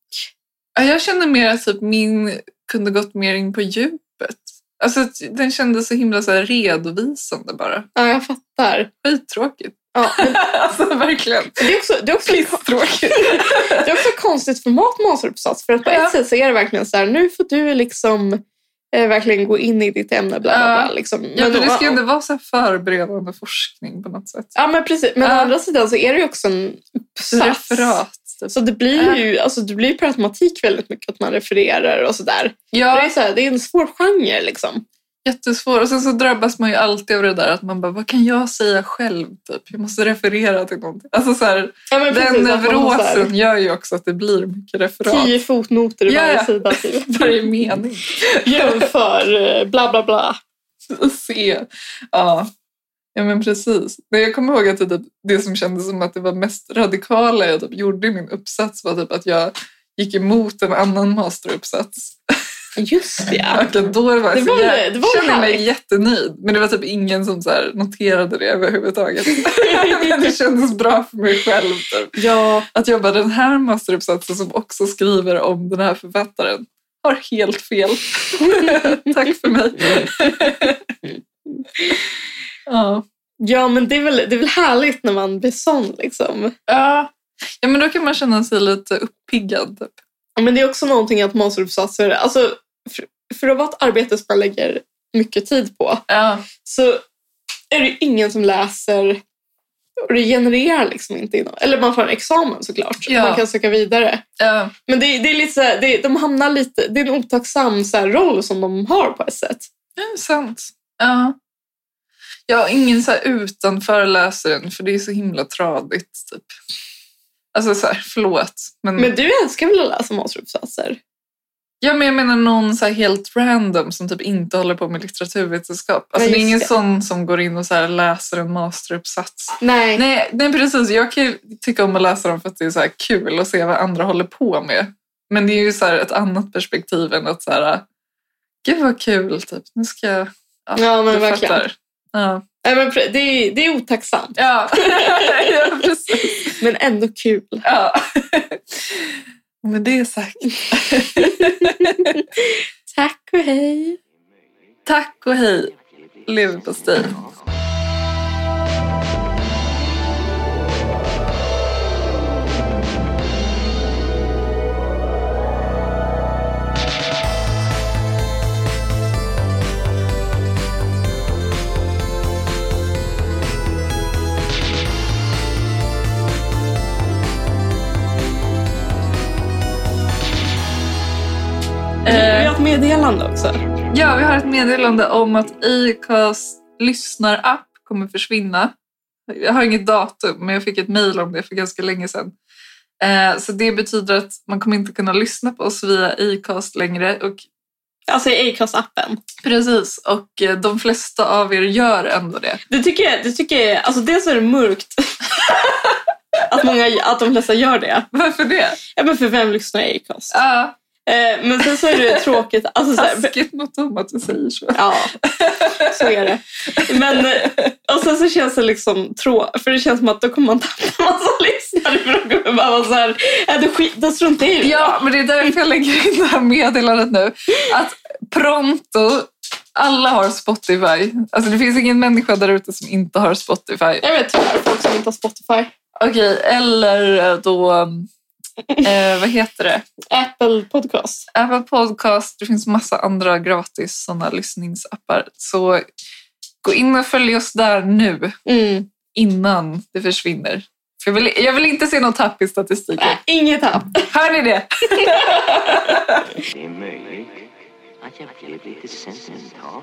A: Ja, Jag känner mer att typ min kunde gått mer in på djupet. Alltså att den kändes så himla så här redovisande bara.
B: ja, jag fattar.
A: Skittråkigt.
B: Ja, men
A: alltså verkligen.
B: det är också, det är
A: (laughs)
B: också
A: Pisstråkigt.
B: Det är också ett konstigt format masteruppsats. För att på
A: Ja.
B: ett sätt så är det verkligen så här, nu får du liksom eh, verkligen gå in i ditt ämne. Bla, bla,
A: Ja.
B: bla, liksom.
A: ja, för det ska ju
B: och-
A: inte vara så här förberedande forskning på något sätt.
B: Ja men precis, men å
A: Ja.
B: andra sidan så är det ju också en uppsats.
A: Referat. Typ.
B: Så det blir ju alltså, det blir ju per automatik väldigt mycket att man refererar och sådär. Det, är
A: Ja,
B: så här, det är en svår genre liksom.
A: jättesvår. Och sen så drabbas man ju alltid av det där att man bara, vad kan jag säga själv? Typ? Jag måste referera till någonting. Alltså så här,
B: Ja, men
A: den
B: att man har så här
A: neurosen gör ju också att det blir mycket referat.
B: Tio fotnoter i
A: Ja,
B: varje
A: ja.
B: sida. Typ.
A: (laughs) Varje mening.
B: (laughs) Jämför eh, bla bla bla.
A: se. Ja. ja, men precis. Men jag kommer ihåg att det, typ- det som kändes som att det var mest radikala jag typ gjorde i min uppsats var typ att jag gick emot en annan masteruppsats.
B: Just det. ja.
A: Och att då var alltså, jag
B: Det
A: så
B: var-
A: jä-
B: det var
A: kände jag mig
B: härligt.
A: jättenöjd. Men det var typ ingen som så här noterade det överhuvudtaget. (laughs) men det kändes bra för mig själv. Typ.
B: Ja,
A: Att jag bara, den här masteruppsatsen som också skriver om den här författaren har helt fel. (laughs) Tack för
B: (laughs)
A: mig. ja.
B: ja men det är, väl, det är väl härligt när man blir sån liksom.
A: Ja. ja, men då kan man känna sig lite uppiggad. Typ.
B: Ja, Men det är också någonting att masteruppsatser, alltså för, för att vara ett arbete som man lägger mycket tid på
A: Ja.
B: så är det ju ingen som läser och det genererar liksom inte inom. Eller man får en examen såklart.
A: Ja.
B: Man kan söka vidare.
A: Ja.
B: Men det, det är lite så här, det, de hamnar lite, det är en otacksam så här, roll som de har på ett sätt.
A: Det är sant. Ja. Ja, ingen så här utanför läser den för det är så himla tradigt. Typ. Alltså så här, förlåt. Men,
B: Men du älskar väl att läsa masteruppsatser?
A: Ja, men jag menar någon så här helt random som typ inte håller på med litteraturvetenskap. Alltså, det är
B: Nej, just
A: ingen
B: det.
A: sån som går in och så här läser en masteruppsats.
B: Nej.
A: Nej, nej, precis. Jag kan ju tycka om att läsa dem för att det är så här kul att se vad andra håller på med. Men det är ju så här ett annat perspektiv än att så här, gud vad kul, typ. nu ska jag...
B: Ja, men
A: du
B: verkligen.
A: fattar. Ja,
B: Nej, men pre- det, är, det är otacksamt,
A: ja. (laughs) ja precis.
B: men ändå kul.
A: Ja. (laughs) Med det sagt,
B: (laughs) Tack och hej!
A: tack och hej. Leverpastej.
B: Eh, meddelande också.
A: Ja, vi har ett meddelande om att Acast lyssnarapp kommer försvinna. Jag har inget datum, men jag fick ett mejl om det för ganska länge sedan. Eh, Så det betyder att man kommer inte kunna lyssna på oss via Acast längre. Och
B: Alltså i Acast-appen.
A: precis, och eh, de flesta av er gör ändå det.
B: Det tycker jag, det tycker jag, alltså dels är det mörkt (laughs) att, många, att de flesta gör det.
A: Varför det?
B: Ja, men för vem lyssnar i Acast?
A: Ja,
B: Eh, men sen så är det tråkigt. Alltså, så här,
A: taskigt mot dem att du säger så.
B: ja, (laughs) så är det. Men, eh, och sen så känns det liksom trå... För det känns som att då kommer man tappa massa (laughs) lyssnare för de kommer bara vara så här, "Ja, då skit- då struntar jag i det."
A: Ja, men det är därför jag lägger in det här meddelandet nu. Att pronto, alla har Spotify. Alltså det finns ingen människa där ute som inte har Spotify.
B: Jag vet tyvärr folk som inte har Spotify.
A: Okej, eller eh, då... Eh, vad heter det?
B: Apple Podcast.
A: Apple Podcast. Det finns massa andra gratis sådana lyssningsappar. Så gå in och följ oss där nu,
B: Mm.
A: innan det försvinner. För jag, vill, jag vill inte se något tapp i statistiken.
B: Nej, inget tapp.
A: Hör ni det?
C: Det är möjligt att jag vill bli lite sentimental.